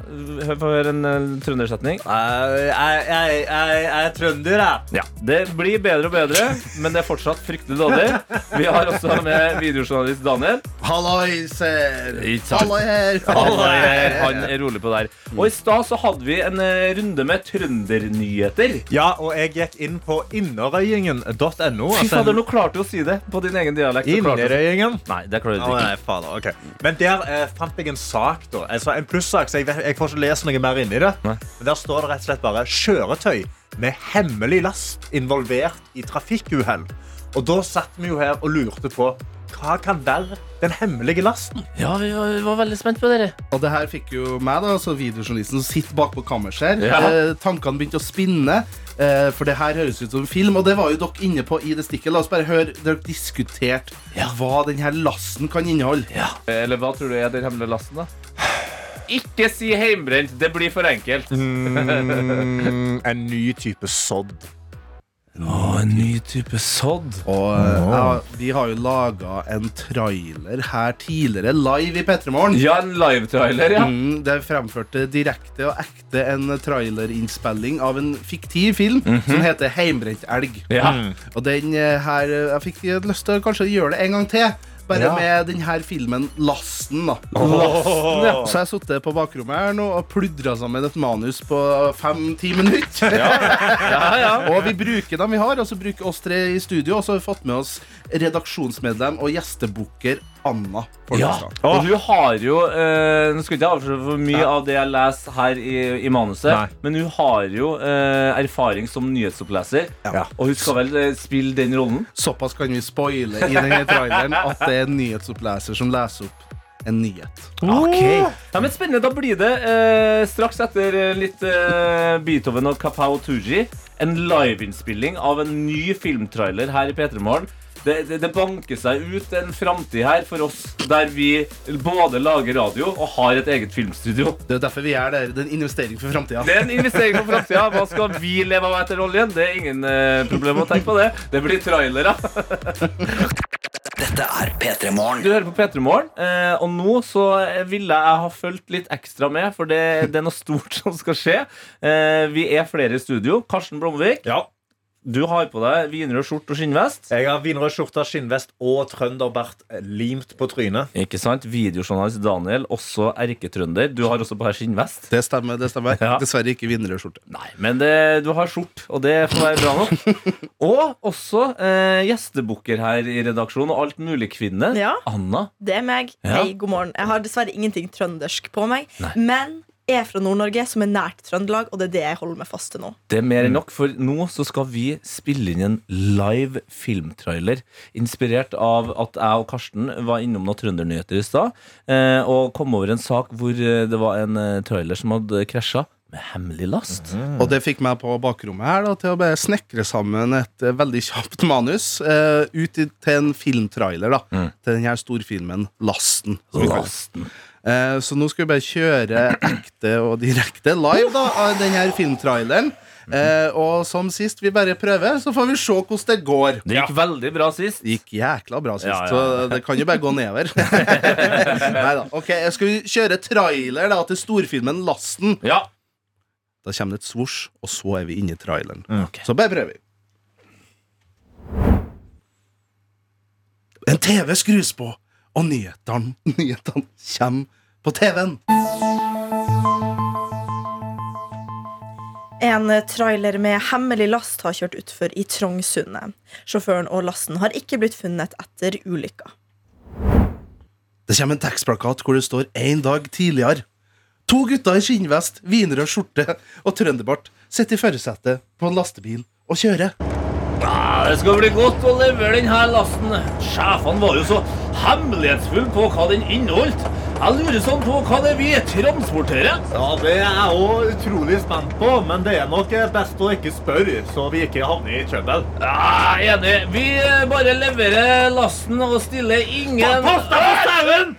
S2: hør på hør en eh, trøndersetning.
S3: Eh, Jeg er trønder, jeg.
S2: Ja, Det blir bedre og bedre, men det er fortsatt fryktelig dårlig. Vi har også med videojournalist Daniel.
S4: Hallois her.
S2: Ikke sant.
S4: Halloi her.
S2: Han er, han er rolig på der. Og i stad så hadde vi en eh, runde med trøndernyheter.
S3: Ja, og jeg gikk inn på innerøyingen.no.
S2: Fy fader, nå klarte du å si det på din egen dialekt. Du klarte å si-
S3: altså Innerøyingen.
S2: Nei, det klarer du
S3: Å,
S2: ikke.
S3: nei, fader, ok. Men der eh, fant jeg en sak, da. Altså, en plussak, så jeg, vet- jeg får ikke lest noe mer inni det.
S2: Nei.
S3: Men der står det rett og slett bare 'kjøretøy med hemmelig last involvert i trafikkuhell'. Og da satt vi jo her og lurte på hva kan være den hemmelige lasten?
S2: Ja, vi var, vi var veldig spent på dere.
S4: Og det her fikk jo meg, da, altså videojournalisten som sitter bakpå kammerset her.
S2: Ja.
S4: Eh, tankene begynte å spinne, eh, for det her høres ut som film. Og det var jo dere inne på i det stikket. La oss bare høre dere diskutert hva den her lasten kan inneholde.
S2: Eller hva tror du er den hemmelige lasten, da? Ikke si heimbrent. Det blir for enkelt.
S3: en ny type sodd.
S2: Å, en ny type sodd.
S4: Og eh, ja, vi har jo laga en trailer her tidligere, live i Petremorgen.
S2: Ja, en livetrailer, ja.
S4: Mm, det fremførte direkte og ekte en trailerinnspilling av en fiktiv film
S2: Mhm.
S4: som heter Heimbrent elg.
S2: ja.
S4: Og den eh, her eh, Jeg fikk eh, lyst til å kanskje gjøre det en gang til. Bare
S3: Ja.
S4: med den her filmen Lasten, da.
S2: Lasten, ja.
S4: Så jeg har sittet på bakrommet her nå og pludra sammen et manus på fem-ti minutter.
S2: ja, ja.
S4: Og vi bruker dem vi har, og så bruker oss tre i studio. Og så har vi fått med oss redaksjonsmedlem og gjestebooker Anna.
S2: Ja,
S4: Fornestad.
S2: og du har jo eh, Nå skal ikke jeg avsløre for mye av det jeg leser her i, i manuset,
S3: Nei.
S2: men hun har jo eh, erfaring som nyhetsoppleser,
S3: Ja.
S2: og hun skal vel eh, spille den rollen?
S4: Såpass kan vi spoile i denne traileren at det er en nyhetsoppleser som leser opp en nyhet.
S3: Ok.
S2: Ja, men Spennende. Da blir det eh, straks etter eh, litt eh, Beethoven og Kapao Tooji en liveinnspilling av en ny filmtrailer her i P3 Morgen. Det, det, det banker seg ut en framtid her for oss der vi både lager radio og har et eget filmstudio.
S4: Det er jo derfor vi er der. Det er en investering for framtida.
S2: Det er en investering for framtida. Hva skal vi leve av etter oljen? Det er ingen eh, problem å tenke på det. Det blir trailere.
S6: Dette er P3 Morgen.
S2: Du hører på P3 Morgen, eh, og nå så ville jeg ha fulgt litt ekstra med, for det, det er noe stort som skal skje. Eh, vi er flere i studio. Karsten Blomvik,
S3: Ja.
S2: du har på deg vinrød skjorte og skinnvest.
S3: Jeg har vinrød skjorte, skinnvest og trønderbart eh, limt på trynet.
S2: Ikke sant? Videojournalist Daniel, også erketrønder. Du har også på deg skinnvest.
S4: Det stemmer. det stemmer
S2: Ja.
S4: Dessverre ikke vinnerrød skjorte.
S2: Nei, men det, du har skjort, og det får være bra nok. og også eh, gjestebukker her i redaksjonen, og alt mulig kvinne.
S7: Ja.
S2: Anna.
S7: Det er meg.
S2: Ja.
S7: Hei, god morgen. Jeg har dessverre ingenting trøndersk på meg,
S2: Nei.
S7: men jeg er fra Nord-Norge, som er nært Trøndelag, og det er det jeg holder meg fast til nå.
S2: Det er mer enn nok, for nå så skal vi spille inn en live filmtrailer. Inspirert av at jeg og Karsten var innom noen trøndernyheter i stad. eh, Og kom over en sak hvor eh, det var en eh, trailer som hadde krasja med hemmelig last.
S4: Og det fikk meg på bakrommet her da, til å bare snekre sammen et eh, veldig kjapt manus eh, ut i, til en filmtrailer. da Til den her storfilmen Lasten. som vi kaller det.
S2: Mm. Lasten.
S4: Eh, så nå skal vi bare kjøre ekte og direkte live da av den her filmtraileren. Eh, og som sist, vi bare prøver, så får vi se hvordan det går.
S2: Det gikk veldig bra sist.
S4: Det gikk jækla bra sist,
S2: Ja, ja.
S4: så det kan jo bare gå nedover. Neida, Ok, jeg skal kjøre trailer da til storfilmen Lasten.
S2: Ja.
S4: Da kommer det et svosj, og så er vi inne i traileren.
S3: Ok.
S4: Så bare prøver vi. En TV skrus på, og nyhetene nyhetene kommer på TV-en.
S7: En eh, trailer med hemmelig last har kjørt utfor i Trongsundet. Sjåføren og lasten har ikke blitt funnet etter ulykka.
S4: Det kommer en tekstplakat hvor det står én dag tidligere. To gutter i skinnvest, vinrød skjorte og trønderbart sitter i førersetet på en lastebil og kjører.
S2: Ja, Det skal bli godt å levere denne lasten. Sjefene var jo så hemmelighetsfulle på hva den inneholdt. Jeg lurer sånn på hva det er vi transporterer.
S3: Ja, Det er jeg òg utrolig spent på, men det er nok best å ikke spørre, så vi ikke havner i trøbbel.
S2: Ja, jeg er enig. Vi eh, bare leverer lasten og stiller ingen Pass deg for sauen!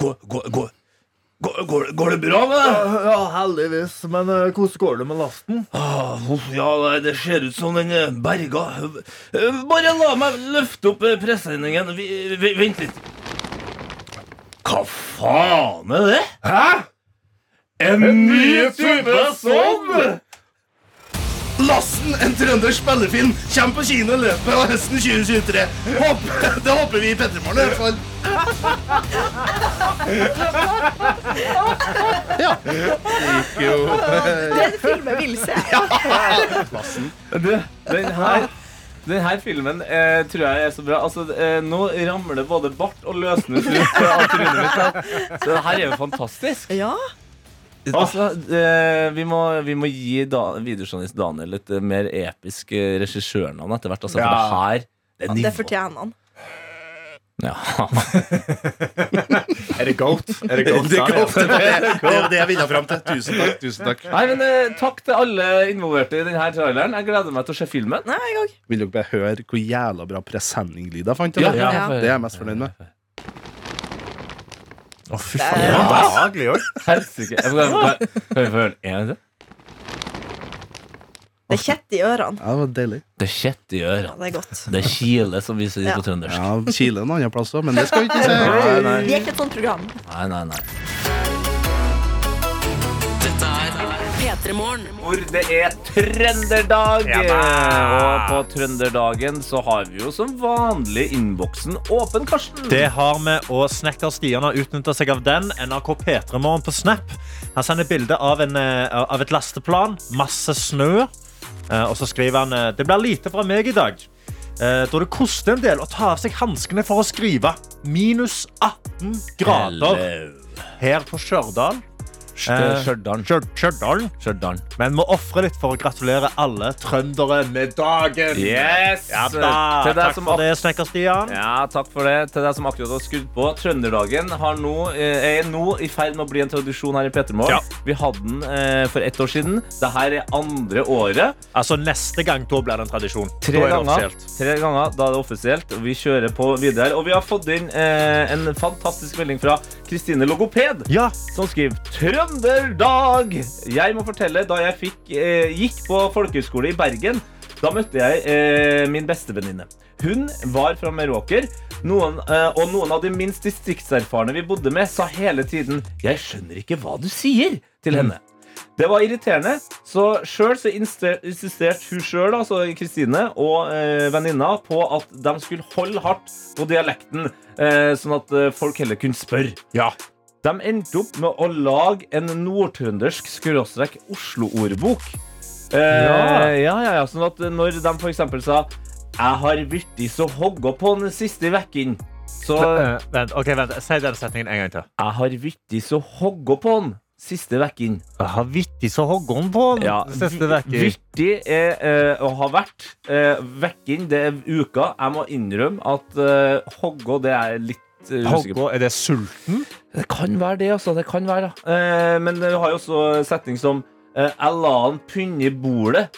S2: Går, går, går. Går, går, går det bra med deg?
S3: Ja, heldigvis. Men eh, hvordan går det med lasten?
S2: Ah, uff, Ja, nei, det ser ut som den er berga. Eh, Bare la meg løfte opp eh, presenningen. Vi, vi, vent litt. Hva faen er det? Hæ? En ny type sånn?
S4: Lassen, en trøndersk spillefilm, kommer på kino i løpet av høsten 2023. Håper, det håper vi i Pettermorgen i hvert fall. Ja. Det gikk jo
S7: Det er en film jeg vil se.
S2: Du, den her den her filmen eh, tror jeg er så bra. Altså, eh, Nå ramler det både bart og løsnes ut av trynet mitt. her. Så det her er jo fantastisk.
S7: Ja,
S2: Altså, eh, vi, må, vi må gi da, videojournalist Daniel et eh, mer episk eh, regissørnavn etter hvert. Altså, for det
S3: Ja.
S2: her det er
S7: det
S2: nivå.
S7: fortjener han.
S2: Ja.
S3: Er det goat? Er det goat?
S4: Det kom til det. Det var det jeg ville fram til. Tusen takk. tusen takk
S2: Nei, men eh, Takk til alle involverte i denne traileren. Jeg gleder meg til å se filmen.
S7: Nei, jeg òg.
S4: Vil dere bare høre hvor jævla bra presenninglyd jeg fant?
S2: Ja,
S4: eller?
S2: ja,
S7: Ja.
S2: for-
S4: Det er jeg mest fornøyd med.
S2: Å, fy
S7: Det
S2: faen.
S7: er-
S3: Behagelig òg.
S2: Helsike. Jeg får- Kan kan vi få høre en gang til?
S7: Det er kjett i ørene.
S4: Ja, det var deilig.
S2: Det er kjett i
S7: Ja,
S2: ørene.
S7: det er godt.
S2: Det er kile, som vi sier på trøndersk.
S4: Ja, Kile en annen plass òg, men det skal vi ikke se.
S2: Nei,
S7: Vi er ikke et sånt program.
S2: Nei, nei, nei.
S1: P3 Morgen.
S2: Hvor det er trønderdag!
S3: Ja da!
S2: og på trønderdagen så har vi jo som vanlig innboksen åpen, Karsten.
S3: Det har vi, og snekker Stian har utnytta seg av den. NRK P3morgen på Snap. Han sender bilde av, en, eh, av et lasteplan. Masse snø. Eh, Og så skriver han eh, Det blir lite fra meg i dag. Eh, Da det koster en del å ta av seg hanskene for å skrive. Minus 18 grader
S2: Hello.
S3: her på Stjørdal.
S6: Eh,
S2: Stjørdal.
S6: Stjør- Stjørdal.
S2: Stjørdal.
S6: Men må ofre litt for å gratulere alle trøndere med dagen.
S2: Yes!
S6: Ja, da.
S2: Til deg
S6: Takk
S2: som
S6: for det, Snekker-Stian.
S2: Ja, takk for det. Til deg som akkurat har skrudd på. Trønderdagen har nå, eh, er nå i ferd med å bli en tradisjon her i Petermorgen.
S6: Ja.
S2: Vi hadde den eh, for ett år siden. Dette er andre året.
S6: Altså, neste gang da blir det en tradisjon.
S2: Tre
S6: da er det
S2: ganger,
S6: offisielt.
S2: tre ganger, da er det offisielt. Og vi kjører på videre. Og vi har fått inn eh, en fantastisk melding fra Kristine Logoped.
S6: Ja,
S2: Som skriver Trønderdag! Jeg må fortelle da jeg fikk, eh, gikk på folkehøyskole i Bergen. Da møtte jeg eh, min bestevenninne. Hun var fra Meråker, noen, eh, og noen av de minst distriktserfarne vi bodde med, sa hele tiden 'Jeg skjønner ikke hva du sier' til henne. Det var irriterende, så sjøl så inste- insisterte hun sjøl, altså Kristine og eh, venninna, på at de skulle holde hardt på dialekten, eh, sånn at eh, folk heller kunne spørre.
S6: Ja.
S2: De endte opp med å lage en nordtrøndersk skråstrek Oslo-ordbok. Eh, ja. ja, ja, Sånn at når de for eksempel sa 'Jeg har blitt så hogga på den siste vekken', så
S6: Eh, Vent, ok, vent. Si den setningen en gang til.
S2: 'Jeg har blitt så hogga på den siste vekken'.
S6: Jeg har vittig så hoggen på den
S2: Ja,
S6: siste vekken.
S2: Virtig er eh, å ha vært. Eh, vekken, det er uka. Jeg må innrømme at eh, Hoggo, det er jeg litt eh, usikker på.
S6: Hoggen, er det sulten?
S2: Det kan være det, altså. Det kan være, da. Eh, men du har jo også setning som eh, Jeg la han punne i bordet.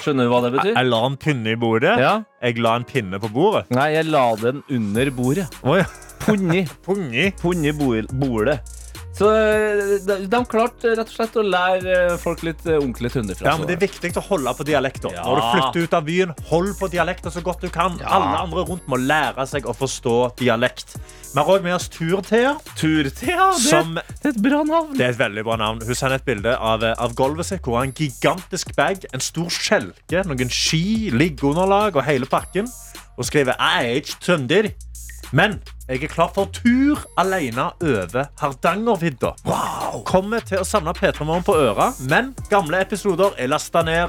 S2: Skjønner du hva det
S6: Jeg,
S2: betyr?
S6: jeg la en pinne i bordet.
S2: Ja.
S6: Jeg la en pinne på bordet.
S2: Nei, jeg la den under bordet.
S6: Oi,
S2: Punni.
S6: pungi.
S2: Punni bor- bordet. Så eh, de, de klarte rett og slett å lære eh, folk litt eh, ordentlig trønder fra
S3: Altså,
S6: Ja, men Det er viktig å holde på dialekter.
S2: Ja.
S6: Når du flytter ut av byen, hold på dialekter så godt du kan. Alle andre rundt må lære seg å forstå dialekt. Vi har òg med oss Tur-Thea,
S2: Turtea, det,
S6: som
S2: det er et bra navn.
S6: Det er et veldig bra navn. Hun sender et bilde av, eh, av gulvet sitt. Hvor hun har en gigantisk bag, en stor skjelke, noen ski, liggeunderlag og hele pakken. Og skriver Jeg er ikke trønder, men jeg er klar for tur alene over Hardangervidda. Kommer til å savne P3 Morgen på øra, men gamle episoder er lasta ned.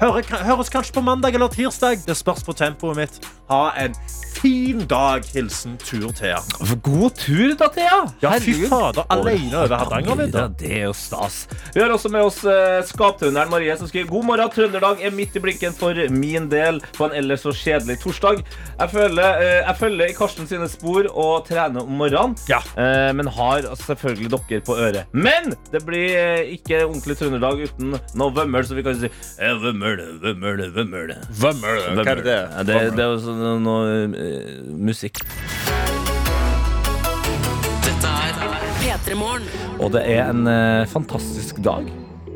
S6: Hører, høres kanskje på mandag eller tirsdag. Det spørs på tempoet mitt. Ha en fin dag. Hilsen Tur-Thea.
S2: God tur, da, Thea.
S6: Ja, fy
S2: Herregud.
S6: fader. Alene over
S2: Ja,
S6: Hardangervidda.
S2: Det er jo stas. Vi har også med oss eh, skaptrønderen Marie, som skriver God morgen, Trøndelag er midt i blinken for min del på en ellers så kjedelig torsdag. Jeg føler, eh, jeg følger i Karsten sine spor og trener om morgenen,
S6: Ja.
S2: eh, men har selvfølgelig dere på øret. Men det blir eh, ikke ordentlig Trønderdag uten noe vømmøl, så vi kan si eh, Vømmøl, vømmøl, vømmøl.
S6: Vømmøl. Hva er det?
S2: Ja, det, det er jo sånn noe eh, musikk.
S1: Dette er P3 Morgen.
S2: Og det er en eh, fantastisk dag.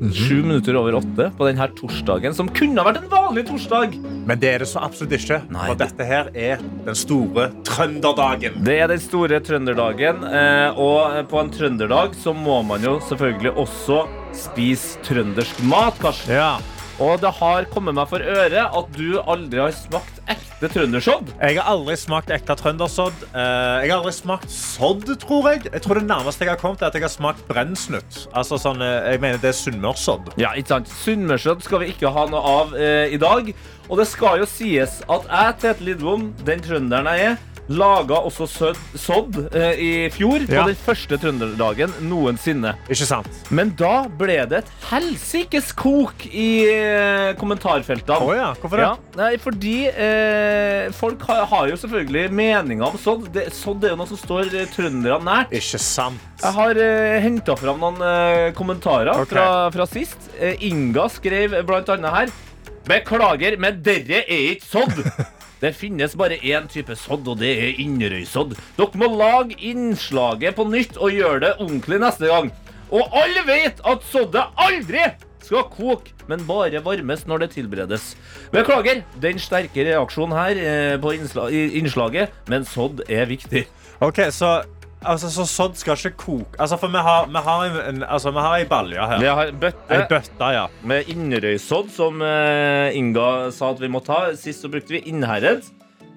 S2: Sju minutter over åtte på denne torsdagen, som kunne ha vært en vanlig torsdag.
S6: Men det er det så absolutt ikke.
S2: Nei,
S6: for
S2: det-
S6: dette her er den store trønderdagen.
S2: Det er den store trønderdagen, eh, og på en trønderdag så må man jo selvfølgelig også spise trøndersk mat, Karsten.
S6: Ja,
S2: Og det har kommet meg for øre at du aldri har smakt ekte trøndersodd.
S6: Jeg har aldri smakt ekte trøndersodd. Eh, Jeg har aldri smakt sodd, tror jeg. Jeg tror Det nærmeste jeg har kommet, er at jeg har smakt brennsnutt. Altså sånn, eh, jeg mener det er sunnmørssodd.
S2: Ja, ikke sant? Sunnmørssodd skal vi ikke ha noe av eh, i dag. Og det skal jo sies at jeg, Tete Lidbom, den trønderen jeg er, laga også sød, sodd eh, i fjor,
S6: Ja.
S2: på den første trønderdagen noensinne.
S6: Ikke sant?
S2: Men da ble det et helsikes kok i eh, kommentarfeltene.
S6: Å ja, hvorfor det?
S2: Ja, nei, fordi eh, folk har, har jo selvfølgelig meninger om sodd. Det, sodd er jo noe som står eh, trønderne nært.
S6: Ikke sant.
S2: Jeg har uh, henta fram noen eh, kommentarer
S6: Ok.
S2: fra, fra sist. Eh, Inga skrev blant annet her Beklager, men dere er ikke sådd. Det finnes bare én type sådd, og det er Inderøysodd. Dere må lage innslaget på nytt og gjøre det ordentlig neste gang. Og alle vet at soddet aldri skal koke, men bare varmes når det tilberedes. Beklager den sterke reaksjonen her eh, på innsla i innslaget, men sodd er viktig.
S6: Ok, så, altså, så sodd skal ikke koke. Altså, for vi har, vi har, en- en, altså, vi har ei balje her.
S2: Vi har bøtte
S6: Ei bøtte, ja.
S2: med Inderøysodd, som eh, Inga sa at vi må ta. Sist så brukte vi Innherred.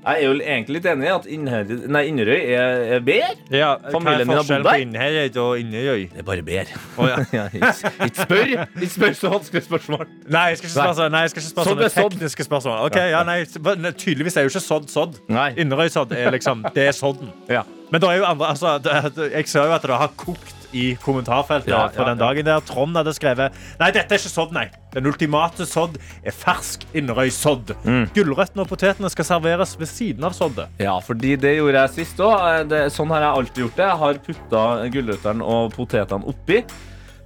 S2: Jeg er jo egentlig litt enig i at Innherred, nei, Inderøy er, er bedre.
S6: ja
S2: Familien min har bodd
S6: Hva
S2: der?
S6: er forskjellen på Innherred og Inderøy?
S2: Det er bare bedre.
S6: Å, ja.
S2: Ikke spør, ikke spør så vanskelige spørsmål.
S6: Nei, jeg skal ikke spørre, sånn- nei, jeg skal ikke spørre
S2: Sådd
S6: sånne
S2: er sådd.
S6: tekniske spørsmål. Ok, ja, nei, s- hva- nei, Tydeligvis er jo ikke sodd sodd.
S2: Nei.
S6: Inderøysodd er liksom, det er sodden.
S2: Ja.
S6: Men det er jo andre, altså, det, det, jeg ser jo at det har kokt
S3: i kommentarfeltet.
S2: Ja, ja,
S3: på den
S2: ja.
S3: dagen der Trond hadde skrevet Nei, dette er ikke sodd, nei. Den ultimate sodd er fersk innrøysodd. Gulrøttene og potetene skal serveres ved siden av soddet.
S2: Mm. Ja, fordi det gjorde jeg sist òg. Sånn har jeg alltid gjort det. Jeg har putta gulrøttene og potetene oppi.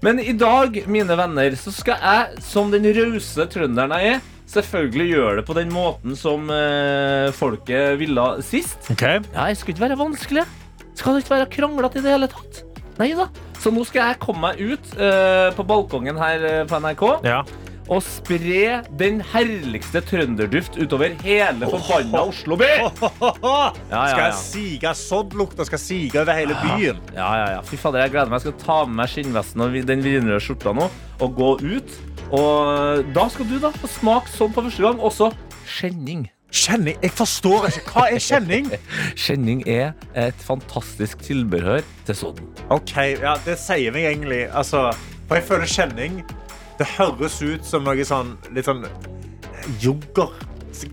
S2: Men i dag, mine venner, så skal jeg, som den rause trønderen jeg er, selvfølgelig gjøre det på den måten som eh, folket ville sist. Ja, jeg skal ikke være vanskelig. Skal det ikke være kranglete i det hele tatt? Nei da. Så nå skal jeg komme meg ut eh, på balkongen her eh, på NRK
S3: Ja.
S2: og spre den herligste trønderduft utover hele forbanna Oslo by. Ja, ja, ja.
S3: Skal sige soddlukta skal sige over hele byen.
S2: Ja, ja, ja. Fy fader, jeg gleder meg. Jeg skal ta med meg skinnvesten og den vinrøde skjorta nå og gå ut. Og da skal du da få smake sånn på første gang. Også kjenning.
S3: Kjenning? Jeg forstår ikke. Hva er kjenning?
S2: Kjenning er et fantastisk tilbehør til sånn. sodden.
S3: Ok, ja, det sier meg egentlig altså, For jeg føler kjenning Det høres ut som noe sånn Litt sånn yoghurt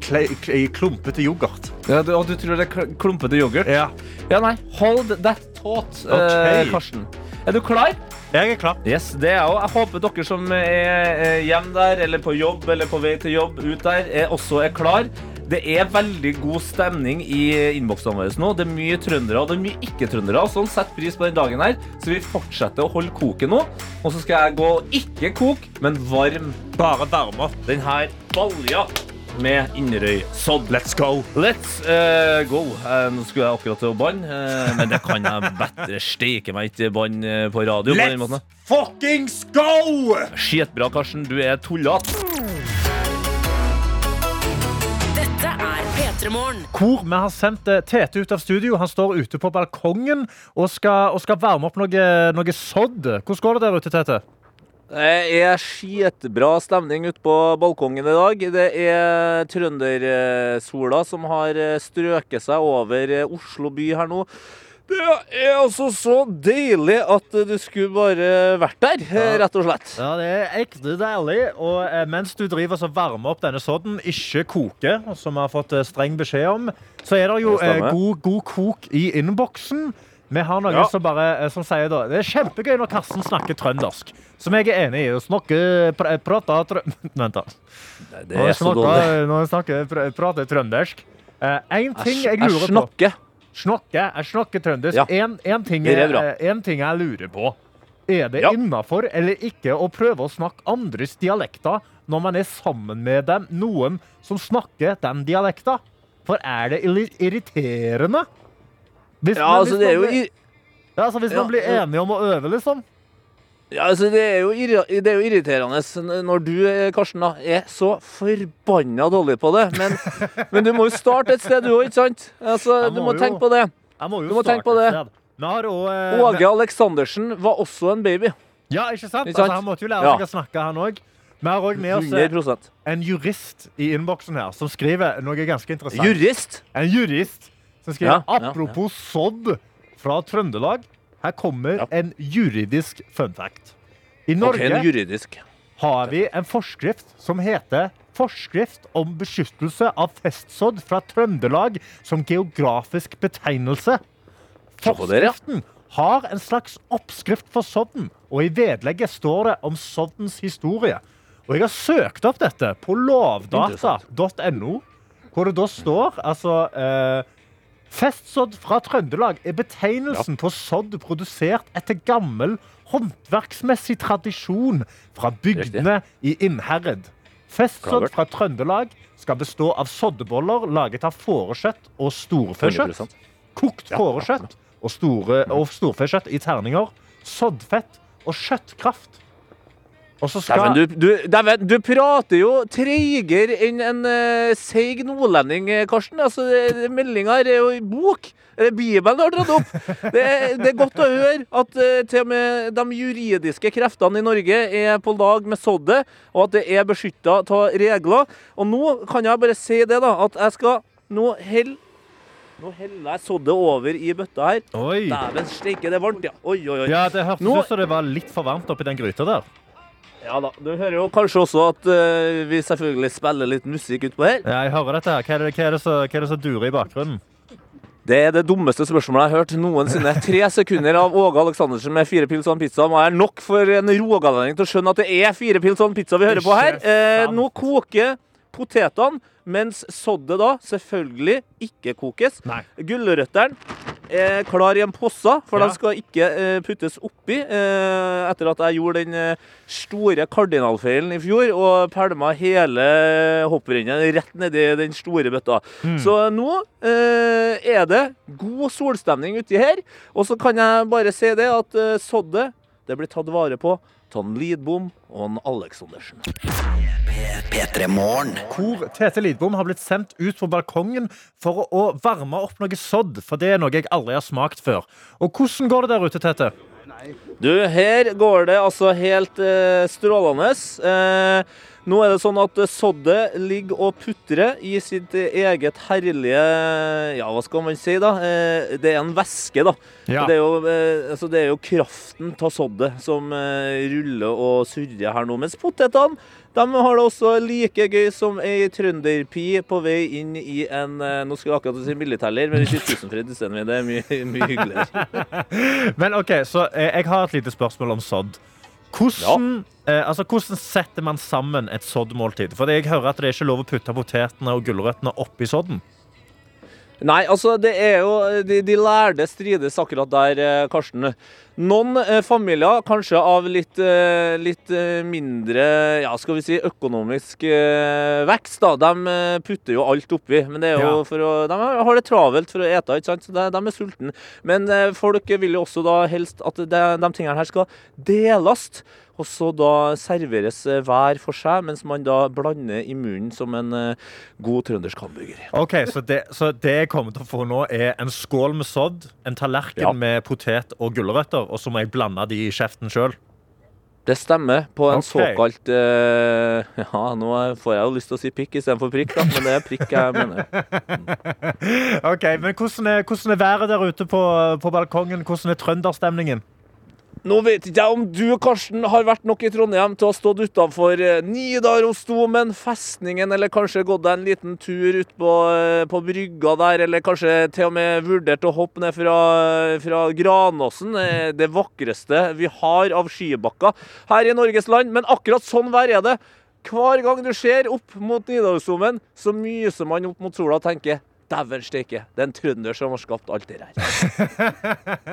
S3: kle- kle- Klumpete yoghurt
S2: Ja, du, og du tror det er kl- klumpete yoghurt?
S3: Ja,
S2: Ja, nei. Hold that thought, eh,
S3: Ok.
S2: Karsten. Er du klar?
S3: jeg er klar
S2: Yes, det er jeg også. Jeg håper dere som er eh, hjemme der, eller på jobb, eller på vei til jobb ut der, er, også er klar. Det er veldig god stemning i innboksene våre nå. Det er mye trøndere og det er mye ikke-trøndere. og Sånn sett pris på den dagen her, så vi fortsetter å holde koken nå. Og så skal jeg gå ikke kok, men varm
S3: Bare varme opp
S2: den her balja med Inderøy sodd.
S3: Let's go
S2: Let's eh, go. Eh, nå skulle jeg akkurat til å banne, eh, men det kan jeg bedre steike meg ikke banne eh, på radio. på den måten.
S3: Let's fucking go
S2: Skitbra, Karsten. Du er tullete.
S1: Dette er P3 Morgen.
S3: Hvor vi har sendt eh, Tete ut av studio Han står ute på balkongen Og skal, og skal varme opp noe, noe sodd Hvordan går det der ute, Tete?
S2: Det er skitbra stemning ute på balkongen i dag. Det er trøndersola som har eh, strøket seg over eh, Oslo by her nå. Det er altså så deilig at eh, du skulle bare vært der, eh, rett og slett.
S3: Ja, det er ekte deilig. Og eh, mens du driver så varmer opp denne sodden, ikke koke, som vi har fått eh, streng beskjed om, så er det jo
S2: Det
S3: eh,
S2: stemmer.
S3: god, god kok i innboksen. Vi har noen
S2: Ja.
S3: som bare, eh, som sier da, det er kjempegøy når Karsten snakker trøndersk. Som jeg er enig i. å Snakke, pr prate trø... Vent, da. Når jeg snakker, når jeg snakker pr prater trøndersk. Eh, en ting jeg lurer på Snakke, jeg snakker trøndersk.
S2: Ja.
S3: En, en, ting
S2: Det er
S3: jeg,
S2: bra.
S3: eh, en ting jeg lurer på. Er det
S2: Ja.
S3: innafor eller ikke å prøve å snakke andres dialekter når man er sammen med dem, noen som snakker den dialekta? For er det illi- irriterende? Hvis
S2: Ja,
S3: man-
S2: altså,
S3: hvis
S2: det er
S3: man
S2: jo
S3: blir-
S2: i-
S3: ja, altså, Hvis
S2: ja,
S3: man blir
S2: det-
S3: enige om å øve, liksom.
S2: Ja, altså det, er jo irra, det er jo irriterende n- når du, eh, Karsten, da, er så forbanna dårlig på det. Men, men du må jo starte et sted, du òg, ikke sant? Altså,
S3: Jeg
S2: du
S3: må
S2: må
S3: jo.
S2: tenke på det.
S3: Jeg må jo
S2: Du må tenke
S3: starte
S2: på
S3: et
S2: det.
S3: sted. Vi har også, eh, vi-
S2: Åge Aleksandersen var også en baby.
S3: Ja, ikke sant?
S2: Ikke sant?
S3: Altså, han måtte jo lære
S2: Ja.
S3: seg å snakke, han òg. Vi har òg med oss eh,
S2: 100
S3: en jurist i innboksen her, som skriver noe ganske interessant.
S2: Jurist?
S3: En jurist som skriver
S2: Ja, ja, ja.
S3: Apropos sodd fra Trøndelag. Her kommer
S2: Ja.
S3: en juridisk fun fact. I
S2: Ok,
S3: Norge
S2: en juridisk.
S3: har vi en forskrift som heter Forskrift om beskyttelse av festsodd fra Trøndelag som geografisk betegnelse.
S2: Se på dere, ja.
S3: Forskriften har en slags oppskrift for sodden, og i vedlegget står det om soddens historie. Og jeg har søkt opp dette på lovdata.no, hvor det da står altså eh, Festsodd fra Trøndelag er betegnelsen på sodd produsert etter gammel håndverksmessig tradisjon fra bygdene i Innherred. Festsodd
S2: Klart.
S3: fra Trøndelag skal bestå av soddeboller laget av fårekjøtt og storfekjøtt.
S2: 100%.
S3: Kokt fårekjøtt og, store, og storfekjøtt i terninger. Soddfett og kjøttkraft. Og så skal
S2: Dæven, du, du, dæven, du prater jo treigere enn en eh, seig nordlending, eh, Karsten. Altså, Meldinga er jo i bok. Eh, Bibelen har dratt opp. Det, er- det er godt å høre at eh, til og med de juridiske kreftene i Norge er på lag med soddet, og at det er beskytta av regler. Og nå kan jeg bare si det, da, at jeg skal Nå hell- nå heller jeg soddet over i bøtta her.
S3: Oi!
S2: Dæven steike, det er varmt, ja. Oi, oi, oi.
S3: Ja, det hørtes
S2: Nå-
S3: ut som det var litt for varmt oppi den gryta der.
S2: Ja da. Du hører jo kanskje også at eh, vi selvfølgelig spiller litt musikk utpå her.
S3: Ja, jeg hører dette her. Hva er det, hva er det, som- hva er det som durer i bakgrunnen?
S6: Det er det dummeste spørsmålet jeg har hørt noensinne. Tre sekunder av Åge Aleksandersen med fire pils og en pizza må være nok for en rogalending til å skjønne at det er fire pils og en pizza vi hører på her.
S8: Ikke
S6: Eh,
S8: sant.
S6: nå koker potetene, mens soddet da selvfølgelig ikke kokes.
S8: Nei.
S6: Gulrøttene er klar i en posse, for
S8: Ja.
S6: de skal ikke eh, puttes oppi. Eh, etter at jeg gjorde den eh, store kardinalfeilen i fjor og pælma hele hopprennet rett nedi den store bøtta. Så nå eh, er det god solstemning uti her. Og så kan jeg bare si det at eh, soddet det blir tatt vare på av en Lidbom og en Aleksandersen.
S8: Hvor Tete Lidbom har blitt sendt ut på balkongen for å varme opp noe sodd. For det er noe jeg aldri har smakt før. Og hvordan går det der ute, Tete?
S6: Du, her går det altså helt eh, strålende. Eh, nå er det sånn at soddet ligger og putrer i sitt eh, eget herlige Ja, hva skal man si, da? Eh, det er en væske, da.
S8: Ja.
S6: Det, er jo, eh, altså det er jo kraften av soddet som eh, ruller og surrer her nå. Mens potetene de har det også like gøy som ei trønderpi på vei inn i en eh, Nå skulle jeg akkurat si militærleir, men vi sier tusenfryd istedenfor. Det er mye, mye hyggeligere.
S3: Men ok, så eh, jeg har et lite spørsmål om sodd. Hvordan, eh, altså, hvordan setter man sammen et soddmåltid? For jeg hører at det er ikke lov å putte potetene og gulrøttene oppi sodden.
S6: Nei, altså, det er jo De, de lærde strides akkurat der, eh, Karsten. Noen eh, familier, kanskje av litt, eh, litt eh, mindre ja, skal vi si, økonomisk eh, vekst, da, de eh, putter jo alt oppi. Men det er jo
S3: Ja.
S6: for å, de har det travelt for å ete, ikke sant? så de, de er sultne. Men eh, folk vil jo også da helst at de, de tingene her skal deles. Og så da serveres eh, hver for seg, mens man da blander i munnen som en eh, god trøndersk hamburger.
S3: Ok, så det, så det jeg kommer til å få nå, er en skål med sodd, en tallerken
S6: Ja.
S3: med potet og gulrøtter, og så må jeg blande de i kjeften sjøl.
S6: Det stemmer på en
S3: Ok.
S6: såkalt eh, Ja, nå får jeg jo lyst til å si pikk istedenfor prikk, da, men det er prikk jeg mener.
S3: Ok, men hvordan er, hvordan er været der ute på, på balkongen? Hvordan er trønderstemningen?
S6: Nå vet ikke jeg om du, Karsten, har vært nok i Trondheim til å ha stått utenfor eh, Nidarosdomen, festningen, eller kanskje gått deg en liten tur ut på, eh, på brygga der, eller kanskje til og med vurdert å hoppe ned fra, fra Granåsen, eh, det vakreste vi har av skibakker her i Norges land. Men akkurat sånn vær er det. Hver gang du ser opp mot Nidarosdomen, så myser man opp mot sola og tenker Dæven steike, det er en trønder som har skapt alt det her.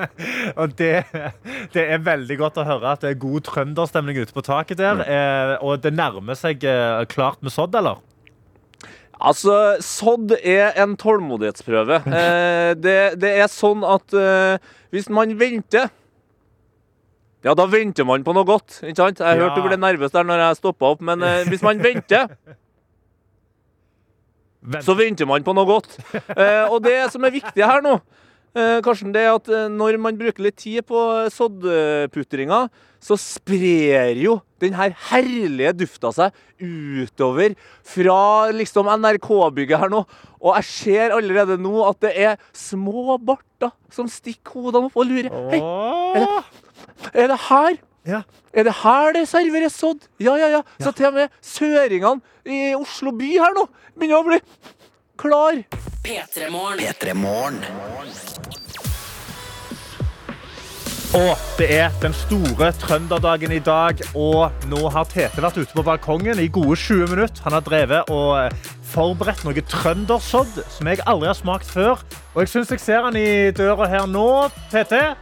S3: Og det, det er veldig godt å høre at det er god trønderstemning ute på taket der. Eh, og det nærmer seg eh, klart med sodd, eller?
S6: Altså, sodd er en tålmodighetsprøve. Eh, det, det er sånn at eh, hvis man venter Ja, da venter man på noe godt, ikke sant? Jeg hørte du ble nervøs der når jeg stoppa opp, men eh, hvis man venter
S3: Vent.
S6: Så venter man på noe godt. Eh, og det som er viktig her nå, eh, Karsten, det er at eh, når man bruker litt tid på eh, soddputringa, så sprer jo den her herlige dufta seg utover fra liksom NRK-bygget her nå. Og jeg ser allerede nå at det er små barter som stikker hodene opp og lurer. Hei,
S3: Åh!
S6: er det her?
S3: Ja.
S6: Er det her det serveres sodd? Ja, ja, ja. Så til og med søringene i Oslo by her nå begynner å bli klar.
S1: P3-morgen.
S3: Og det er den store trønderdagen i dag, og nå har Tete vært ute på balkongen i gode 20 minutter. Han har drevet og eh, forberedt noe trøndersodd som jeg aldri har smakt før. Og jeg syns jeg ser han i døra her nå, Tete.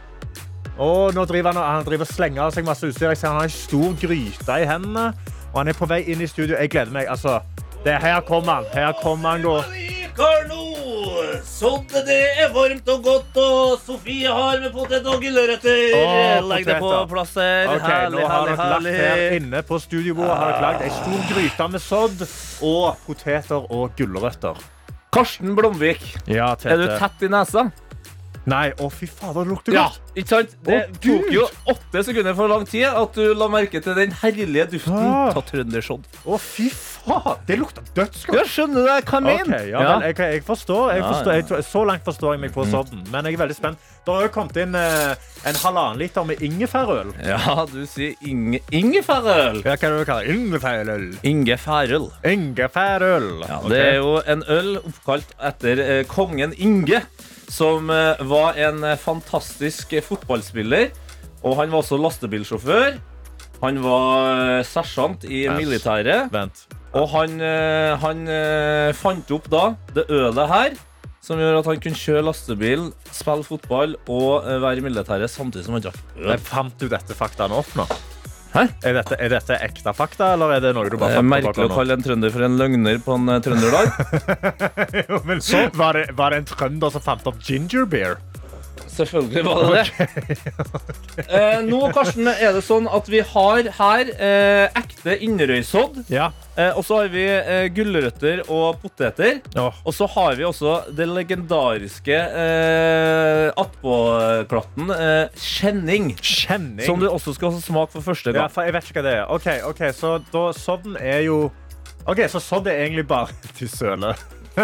S3: Og nå driver han, og- han driver og slenger av seg masse utstyr. Jeg ser han har en stor gryte i hendene, og han er på vei inn i studio. Jeg gleder meg, altså. Det, her kommer han. Her kommer han. Går.
S6: Kar nå, såddet det er varmt og godt, og Sofie har med potet og gulrøtter.
S3: Å,
S6: Legg det på
S3: poteter.
S6: plass her.
S3: Ok,
S6: herlig,
S3: nå har
S6: herlig,
S3: dere lagt her
S6: herlig.
S3: inne på studiobordet har dere lagt ei stor gryte med sodd og poteter og gulrøtter.
S2: Karsten Blomvik,
S3: Ja,
S2: er du tett i nesa?
S3: Nei, å fy fader, det lukter
S2: Ja,
S3: godt.
S2: ikke sant? Det
S3: Å, Gud!
S2: tok jo åtte sekunder for lang tid at du la merke til den herlige duften
S3: Ja.
S2: av trøndersodd.
S3: Å fy faen, det lukter dødsgodt.
S2: Ja, skjønner du hva jeg
S3: Ok,
S2: mener?
S3: ja, vel, Mhm. jeg, jeg forstår. Jeg forstår jeg, tror- så langt forstår jeg meg på sodden. Men jeg er veldig spent. Det har jo kommet inn eh, en halvannen liter med ingefærøl.
S2: Ja, du sier Inge... Ingefærøl!
S3: Hva kan du kalle det? Ingefærøl.
S2: Ingefærøl.
S3: Ingefærøl.
S2: Ja, Det er jo en øl oppkalt etter eh, kongen Inge, som eh, var en eh, fantastisk eh, fotballspiller. Og han var også lastebilsjåfør. Han var eh, sersjant i
S6: Yes.
S2: militæret.
S6: Vent.
S2: Og han, eh, han eh, fant opp da det ølet her, som gjør at han kunne kjøre lastebil, spille fotball og eh, være i militæret samtidig som han drakk øl.
S6: Jeg fant du dette faktaene opp nå?
S2: Hæ?
S6: Er dette, er dette ekte fakta, eller er det noe du
S2: Det
S6: bare
S2: er
S6: fant på
S2: Eh, merkelig å
S6: bakgrunnen?
S2: kalle en trønder for en løgner på en eh, trønderdag.
S3: Jo, men var, det, var det en trønder som fant opp ginger beer?
S2: Selvfølgelig var det det. Eh, nå Karsten, er det sånn at vi har her eh, ekte innrøyshodd.
S3: Ja.
S2: Eh, og så har vi eh, gulrøtter og poteter. Og så har vi også det legendariske eh, attpåklatten eh, kjenning.
S3: Kjenning.
S2: Som du også skal smake for første
S3: Ja,
S2: gang.
S3: for jeg vet ikke hva det er. Ok, ok, så da, sodden er jo... Ok, så sodden er egentlig bare til søle. Eh,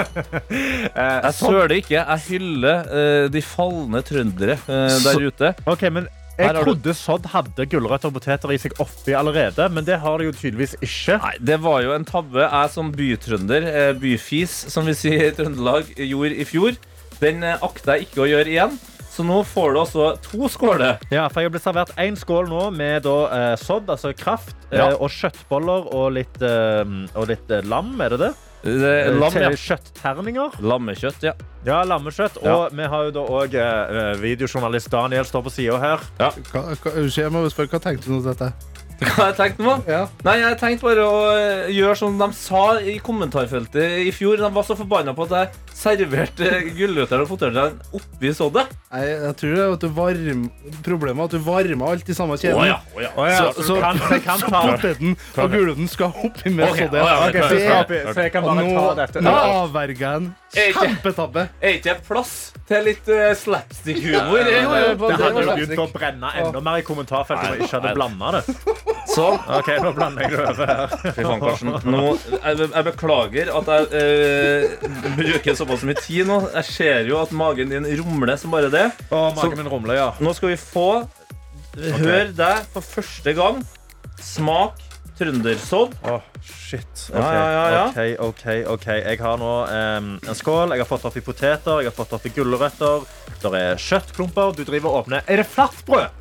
S2: Jeg
S3: sodd-
S2: søler ikke. Jeg hyller eh, de falne trøndere eh, der ute.
S3: Ok, men
S2: Her
S3: jeg
S2: har du-
S3: trodde sodd hadde gulrøtter og poteter i seg oppi allerede, men det har det jo tydeligvis ikke.
S2: Nei, Det var jo en tabbe jeg som bytrønder, eh, byfis, som vi sier i Trøndelag, gjorde i fjor. Den eh, akter jeg ikke å gjøre igjen. Så nå får du altså to skåler.
S3: Ja, for jeg ble servert en skål nå med da, eh, sodd, altså kraft,
S2: Ja.
S3: eh, og kjøttboller og litt, eh, og litt eh, lam, er det det?
S2: Det er Eh, Lam,
S3: Te-
S2: ja.
S3: Kjøttterninger.
S2: Lammekjøtt, ja.
S3: Ja, lammekjøtt.
S2: Ja.
S3: Og vi har jo da òg eh, videojournalist Daniel står på sida her.
S4: Hva, hva, unnskyld, jeg må bare spørre, hva tenkte du nå til dette?
S2: Hva har jeg tenkt nå?
S4: Ja.
S2: Nei, jeg tenkte bare å eh, gjøre som de sa i kommentarfeltet i fjor. De var så forbanna på at jeg serverte gulrøtter og poteter oppi sodda.
S4: Nei, jeg tror det er at du varm, problemet er at du varmer alt i samme kjeden.
S3: Så,
S4: så-
S3: så, du kan, jeg kan
S4: Så
S3: ta
S4: poteten og gulrøtten skal oppi med
S2: Ok, å
S4: sånn.
S2: ja, ok,
S3: Ok, så, jeg skal oppi- så jeg kan
S4: Og
S3: bare
S4: nå,
S3: ta dette.
S4: nå avverger jeg en
S2: Er ikke-
S4: kjempetabbe.
S2: Er ikke det plass til litt eh, slapstick-humor?
S3: Det hadde
S4: var
S3: jo
S4: slapstick.
S3: begynt å brenne enda mer i kommentarfeltet om jeg ikke hadde blanda det.
S2: Sånn.
S3: Ok, nå blander jeg det over her.
S2: Fy faen, Karsten. Nå, jeg, jeg beklager at jeg eh, bruker såpass mye tid nå. Jeg ser jo at magen din rumler som bare det.
S3: Å,
S2: magen
S3: min rumler, ja.
S2: Nå skal vi få høre deg for første gang. Smak trøndersodd.
S3: Åh, shit.
S2: Ja, ja, ja, ja.
S3: OK, OK. ok. Jeg har nå em, en skål. Jeg har fått oppi poteter, jeg har fått oppi gulrøtter. Der er kjøttklumper. Du driver og åpner Er det flatbrød?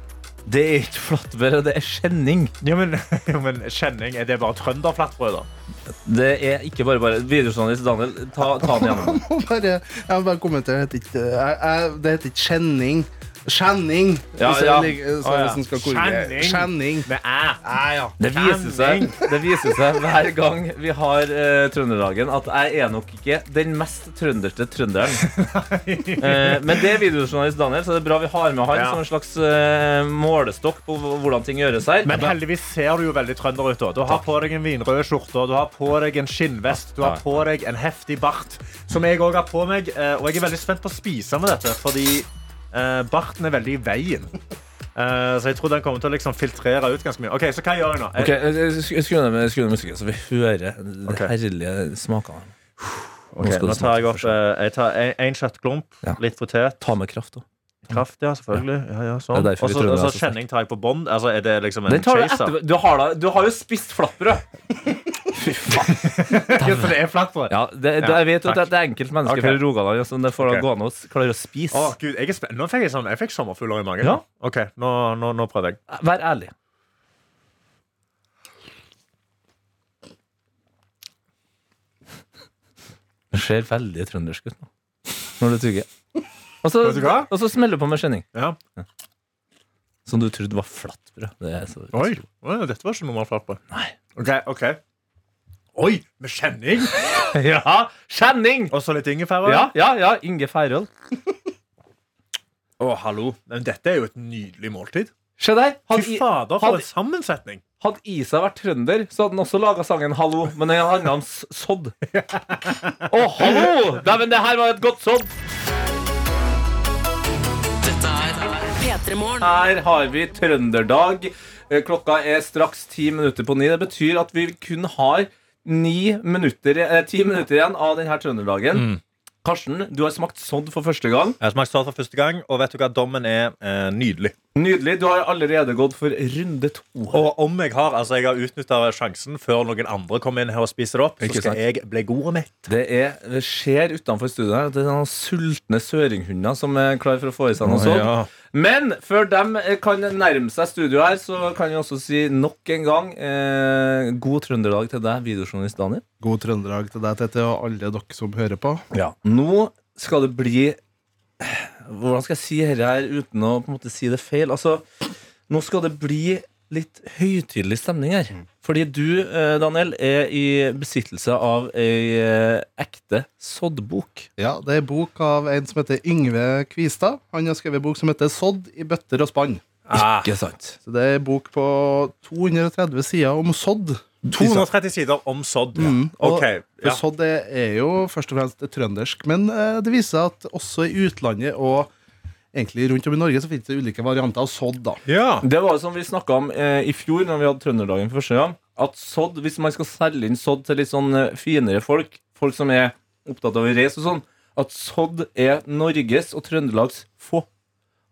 S2: Det er ikke flatbrød, det er kjenning.
S3: Jo, men, jo, men kjenning, er det bare trønderflatbrød, da?
S2: Det er ikke bare bare. Videojournalist Daniel, ta, ta den igjennom.
S4: Må bare, jeg må bare kommentere. Det heter ikke, jeg, jeg, det heter ikke kjenning. Skjenning.
S2: Ja,
S4: hvis jeg
S2: ja.
S4: ligger- så
S3: Å, ja.
S4: hvis en skal korrigere.
S3: Skjenning.
S4: Skjenning.
S3: Med æ.
S4: Nei, ja.
S2: Det viser, seg, det viser seg hver gang vi har eh, Trønderdagen, at jeg er nok ikke den mest trønderte trønderen. Eh, men det er videojournalist Daniel, så det er bra vi har med han
S3: Ja.
S2: som en slags eh, målestokk på hv- hvordan ting gjøres her.
S3: Men heldigvis ser du jo veldig trønder ut. da. Du har på deg en vinrød skjorte, du har på deg en skinnvest, du har på deg en heftig bart, som jeg òg har på meg. eh, Og jeg er veldig spent på å spise med dette, fordi eh, barten er veldig i veien. Eh, Så jeg tror den kommer til å liksom filtrere ut ganske mye. Ok, Så hva gjør jeg nå? Jeg-
S2: Skru ned musikken, så vi hører de
S3: Ok.
S2: herlige smakene.
S3: ok, nå tar jeg opp eh, Jeg tar en, en
S2: Ja.
S3: kjøttklump, litt potet,
S2: Ta med kraft, da.
S3: kraft, ja, selvfølgelig. Ja, ja, sånn.
S2: Det er derfor
S3: Og
S2: vi
S3: så
S2: tror det er
S3: og så
S2: så sterkt.
S3: kjenning tar jeg på bånd. Altså, er det liksom en
S2: Den tar du,
S3: chaser?
S2: etter, du, har da, du har jo spist flatbrød.
S3: Ja, så det er flatt brød.
S2: Ja, det, det,
S3: Ja,
S2: jeg vet jo at
S3: takk.
S2: det er enkeltmennesker
S3: Ok.
S2: fra Rogaland som det får da
S3: Ok.
S2: gå an å s- klare å spise.
S3: Å, Gud, jeg er spen- Nå fikk jeg, sånn, jeg fikk sommerfugler i magen.
S2: Ja.
S3: Ok, nå, nå, nå prøver jeg.
S2: Vær ærlig. Det ser veldig trøndersk ut nå. Når du tugger. Og så,
S3: Vet du hva?
S2: og så smeller du på med kjenning.
S3: Ja.
S2: Som du trodde var flatbrød. Det er så
S3: Oi, Oi, dette var ikke normalt flatbrød.
S2: Nei.
S3: Ok, ok. Oi, med kjenning!
S2: Ja, kjenning!
S3: Og så litt ingefære.
S2: Ja, ja, ja. Inge Færøl.
S3: Å, hallo. Men dette er jo et nydelig måltid.
S2: Se der.
S3: Fy
S2: Hadde, I-
S3: fader,
S2: hadde-
S3: for en sammensetning.
S2: hadde Isa vært trønder, så hadde han også laga sangen 'Hallo', men den handla om s- sodd. Å, hallo! Dæven, det her var et godt sodd.
S1: P3 Morgen.
S2: Her har vi trønderdag. Eh, Klokka er straks ti minutter på ni. Det betyr at vi kun har ni minutter, eh, ti minutter igjen av denne trønderdagen. Karsten, du har smakt sodd for første gang.
S3: Jeg smakte salt for første gang, og vet du hva? Dommen er eh, nydelig.
S2: Nydelig. Du har allerede gått for runde to.
S3: Og om jeg har altså jeg har utnytta sjansen før noen andre kommer inn her og spiser det opp, så
S2: Ikke
S3: skal
S2: sant.
S3: jeg bli god og mett.
S2: Det, er, det skjer utenfor studiet her. Det er noen sultne søringhunder som er klar for å få i seg noe sånt. Men før de kan nærme seg studio her, så kan vi også si nok en gang eh, god trønderdag til deg, videojournalist Daniel.
S4: God trøndelag til deg, Tete, og alle dere som hører på.
S2: Nå skal det bli Hvordan skal jeg si dette her uten å på en måte si det feil? Altså, nå skal det bli litt høytidelig stemning her.
S4: Mm.
S2: Fordi du, eh, Daniel, er i besittelse av ei eh, ekte soddbok.
S4: Ja, Det er bok av en som heter Yngve Kvistad. Han har skrevet bok som heter 'Sodd i bøtter og spann'. Ah.
S3: Ah.
S2: Ikke sant?
S4: Så Det er bok på 230 sider om sodd.
S3: 230 sider om sodd.
S4: Mm, og-
S3: Ok,
S4: For
S3: ja.
S4: sodd er, er jo først og fremst trøndersk, men eh, det viser seg at også i utlandet og egentlig rundt om i Norge så finnes det ulike varianter av sodd. da.
S3: ja.
S2: Det var jo som vi snakka om eh, i fjor, når vi hadde Trønderdagen for første gang. At sodd, hvis man skal selge inn sodd til litt sånn eh, finere folk, folk som er opptatt av å reise og sånn, at sodd er Norges og Trøndelags få.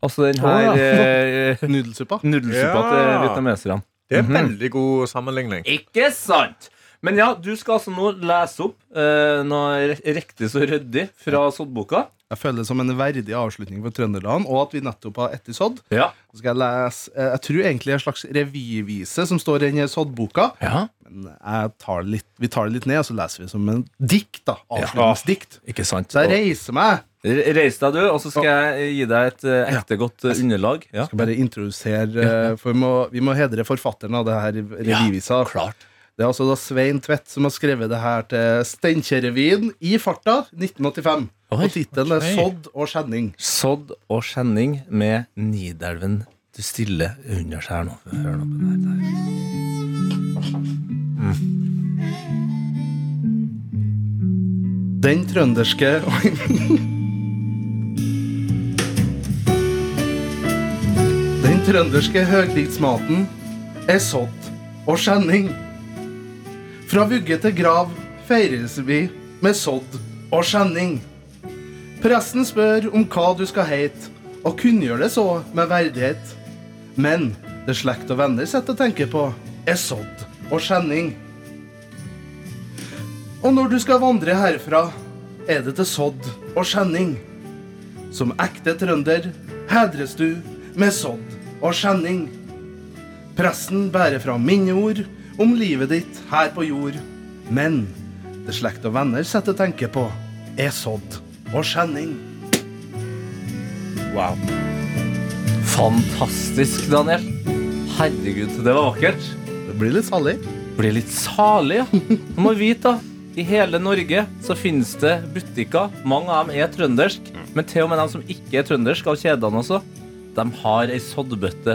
S2: Altså den her
S3: Å, ja.
S2: eh, eh,
S4: Nudelsuppa.
S2: nudelsuppa til
S3: Ja.
S2: vietnameserne.
S3: Det er en veldig god sammenligning.
S2: Ikke sant? Men ja, du skal altså nå lese opp eh, noe re- riktig så ryddig fra soddboka.
S4: Jeg føler det som en verdig avslutning for Trønderland, og at vi nettopp har ettersodd.
S2: Ja.
S4: Så skal jeg lese eh, Jeg tror egentlig en slags revyvise som står i denne soddboka.
S2: ja.
S4: Men jeg tar det litt, vi tar det litt ned, og så leser vi det som en dikt. da Avslutningsdikt.
S2: Ikke sant?
S4: Så jeg reiser meg.
S2: Re- Reis deg, du, og så skal jeg gi deg et eh, ekte godt eh, underlag. Ja.
S4: skal bare introdusere eh, For vi må, vi må hedre forfatteren av det her revyvisa. Det er altså da Svein Tvedt som har skrevet det her til Steinkjer-revyen i farta 1985.
S2: Oi,
S4: og tittelen er
S2: ok.
S4: 'Sodd og skjenning'.
S2: Sodd og skjenning med Nidelven. Du stille under seg her nå. Hør nå på den her.
S4: Den trønderske Oi. Den trønderske høgtidsmaten er sådd og skjenning. Fra vugge til grav feires vi med sådd og skjenning. Pressen spør om hva du skal heite, og kunngjør det så med verdighet. Men det slekt og venner setter å tenke på, er sådd og skjenning. Og når du skal vandre herfra, er det til sodd og skjenning. Som ekte trønder hedres du med sodd og skjenning. Pressen bærer fram minneord om livet ditt her på jord. Men det slekt og venner setter tenke på, er sodd og skjenning.
S3: Wow.
S2: Fantastisk, Daniel. Herregud, det var vakkert.
S4: Det blir litt salig.
S2: Blir litt salig, ja. Du må vite, da. I hele Norge så finnes det butikker. Mange av dem er trøndersk. Men til og med de som ikke er trøndersk, av kjedene også, de har ei soddbøtte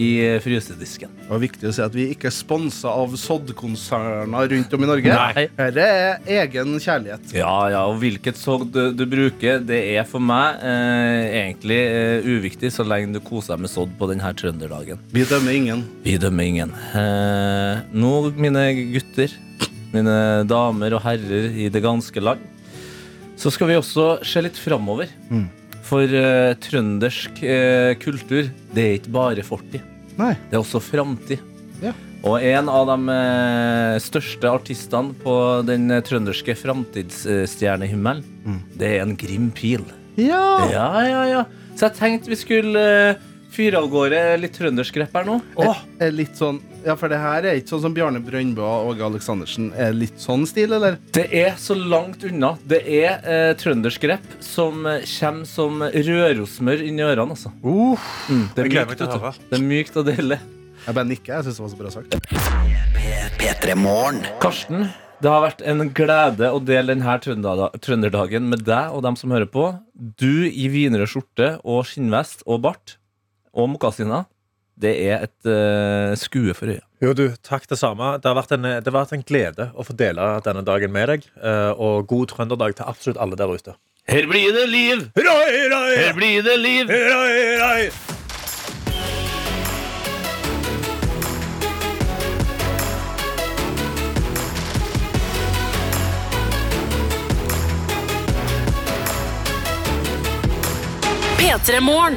S2: i frysedisken.
S4: Det var viktig å si at vi ikke er sponsa av soddkonserner rundt om i Norge.
S2: Nei.
S4: Dette er egen kjærlighet.
S2: Ja, ja, og hvilket sogn du, du bruker, det er for meg eh, egentlig eh, uviktig, så lenge du koser deg med sodd på denne trønderdagen.
S4: Vi dømmer ingen.
S2: Vi dømmer ingen. Eh, nå, mine gutter, mine damer og herrer i det ganske land, så skal vi også se litt framover. For eh, trøndersk eh, kultur, det er ikke bare fortid.
S4: Nei.
S2: Det er også framtid.
S4: Ja.
S2: Og en av de eh, største artistene på den eh, trønderske framtidsstjernehimmelen, det er en Grim Pil.
S4: Ja.
S2: Ja, ja, ja. Så jeg tenkte vi skulle eh, fyre av gårde litt trøndersk rapp her nå.
S4: Åh, er litt sånn Ja, for det her er ikke sånn som Bjarne Brøndbø og Åge Aleksandersen. Er det litt sånn stil, eller?
S2: Det er så langt unna. Det er eh, trøndersk rap som eh, kommer som rørosmør inn i ørene, altså. Mm, det, er
S3: jeg gleder meg
S2: mykt,
S3: til å
S2: vet du.
S3: høre.
S2: det er mykt og deilig.
S4: Jeg bare nikker. Jeg syns det var så bra sagt.
S2: Karsten, det har vært en glede å dele denne trønderda- trønderdagen med deg og dem som hører på. Du i vinere skjorte og skinnvest og bart og mokasiner. Det er et eh, skue for øya.
S3: Jo, du, takk det samme. Det har vært en, det har vært en glede å få dele denne dagen med deg. eh, Og god trønderdag til absolutt alle der ute.
S2: Her blir det liv!
S3: Hurra, hurra, hurra,
S2: blir det liv!
S3: hurra, hurra.
S1: P3 Morgen.